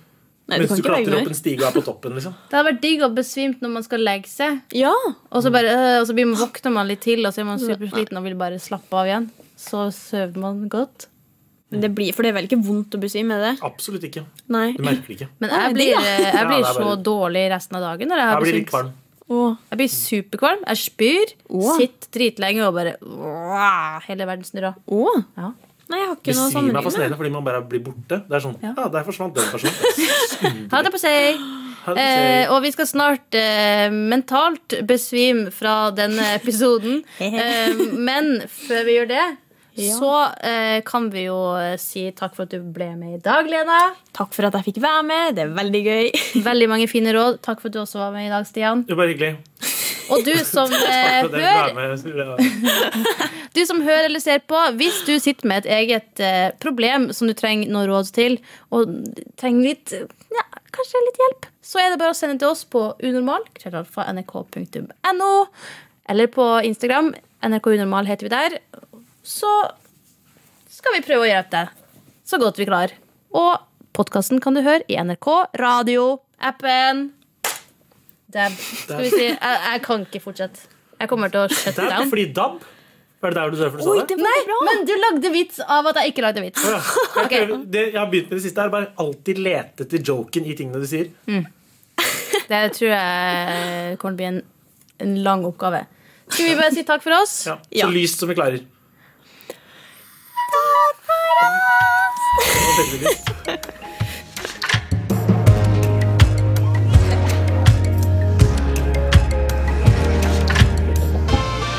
S4: Nei, du
S3: mens
S4: kan
S3: du
S4: ikke
S3: klatrer
S4: velge
S3: opp en
S4: når.
S3: stige og er på toppen, liksom.
S2: Det hadde vært digg å besvimt når man skal legge seg,
S4: Ja.
S2: og så, bare, øh, og så blir man, våkner man litt til, og så er man supersliten og vil bare slappe av igjen. Så sover man godt.
S4: Men det blir, for det er vel ikke vondt å besvime, er det?
S3: Absolutt ikke.
S4: Nei.
S3: Du merker det ikke.
S2: Men
S4: Å,
S2: jeg
S4: det er digg,
S2: blir,
S4: da.
S2: øh, jeg
S3: Ja,
S2: blir
S3: det er
S2: så
S3: bare-
S2: dårlig resten av dagen når jeg
S3: Jeg
S2: har
S3: blir litt
S2: besvimt.
S3: kvalm.
S4: Åh.
S2: Jeg blir superkvalm. Jeg spyr.
S4: Åh.
S2: Sitter dritlenge og bare åh, Hele verden snurrer.
S4: Åh.
S2: Ja.
S4: Nei, jeg har ikke
S3: Besvime
S4: noe
S3: er
S4: sammenligning.
S3: fascinerende fordi man bare blir borte. Det er sånn Ja,
S2: Ja.
S3: der forsvant den personen.
S2: Ha det på seg.
S3: Ha det,
S2: Eh,
S3: sier-
S2: og vi skal snart eh, mentalt besvime fra denne episoden. eh, men før vi gjør det,
S4: Ja.
S2: så eh, kan vi jo eh, si takk for at du ble med i dag, Lena.
S4: Takk for at jeg fikk være med. Det er veldig gøy.
S2: Veldig mange fine råd. Takk for at du også var med i dag, Stian.
S3: Det er bare hyggelig.
S2: Og du som, eh,
S3: Takk for at dere
S2: hører,
S3: vil være med.
S2: du som hører eller ser på, hvis du sitter med et eget eh, problem som du trenger noe råd til, og trenger litt eh, ja, kanskje litt hjelp, så er det bare å sende til oss på unormal, krøllalfa nrk.no, eller på Instagram. nrkunormal heter vi der. Så skal vi prøve å hjelpe deg så godt vi klarer. Og podkasten kan du høre i NRK Radio, appen Dab. Skal vi si Jeg, jeg kan ikke fortsette. Jeg kommer til å shut
S3: Det er
S2: down.
S3: fordi DAB Var det der du derfor du sa
S4: Oi,
S3: det?
S4: det var bra.
S2: Men du lagde vits av at jeg ikke lagde vits.
S3: Ja, jeg,
S2: Ok.
S3: prøver- det, jeg har begynt med det siste her. Bare alltid lete etter joken i tingene du sier.
S2: Det tror jeg eh, kommer til å bli en, en lang oppgave. Skal vi bare si takk for oss?
S3: Ja, så
S4: Ja.
S3: lyst som vi klarer. Det var veldig lyst.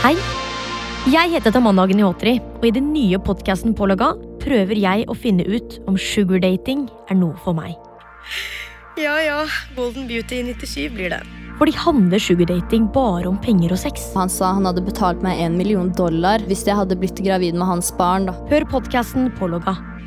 S5: Hei! <laughs> Jeg heter Tamanna Agnihotri, og i den nye podkasten Pålogga prøver jeg å finne ut om sugardating er noe for meg.
S6: Ja ja, Golden Beauty 97 blir det.
S5: Fordi handler sugardating bare om penger og sex?
S7: Han sa han hadde betalt meg en million dollar hvis jeg hadde blitt gravid med hans barn. da.
S5: Hør podkasten Pålogga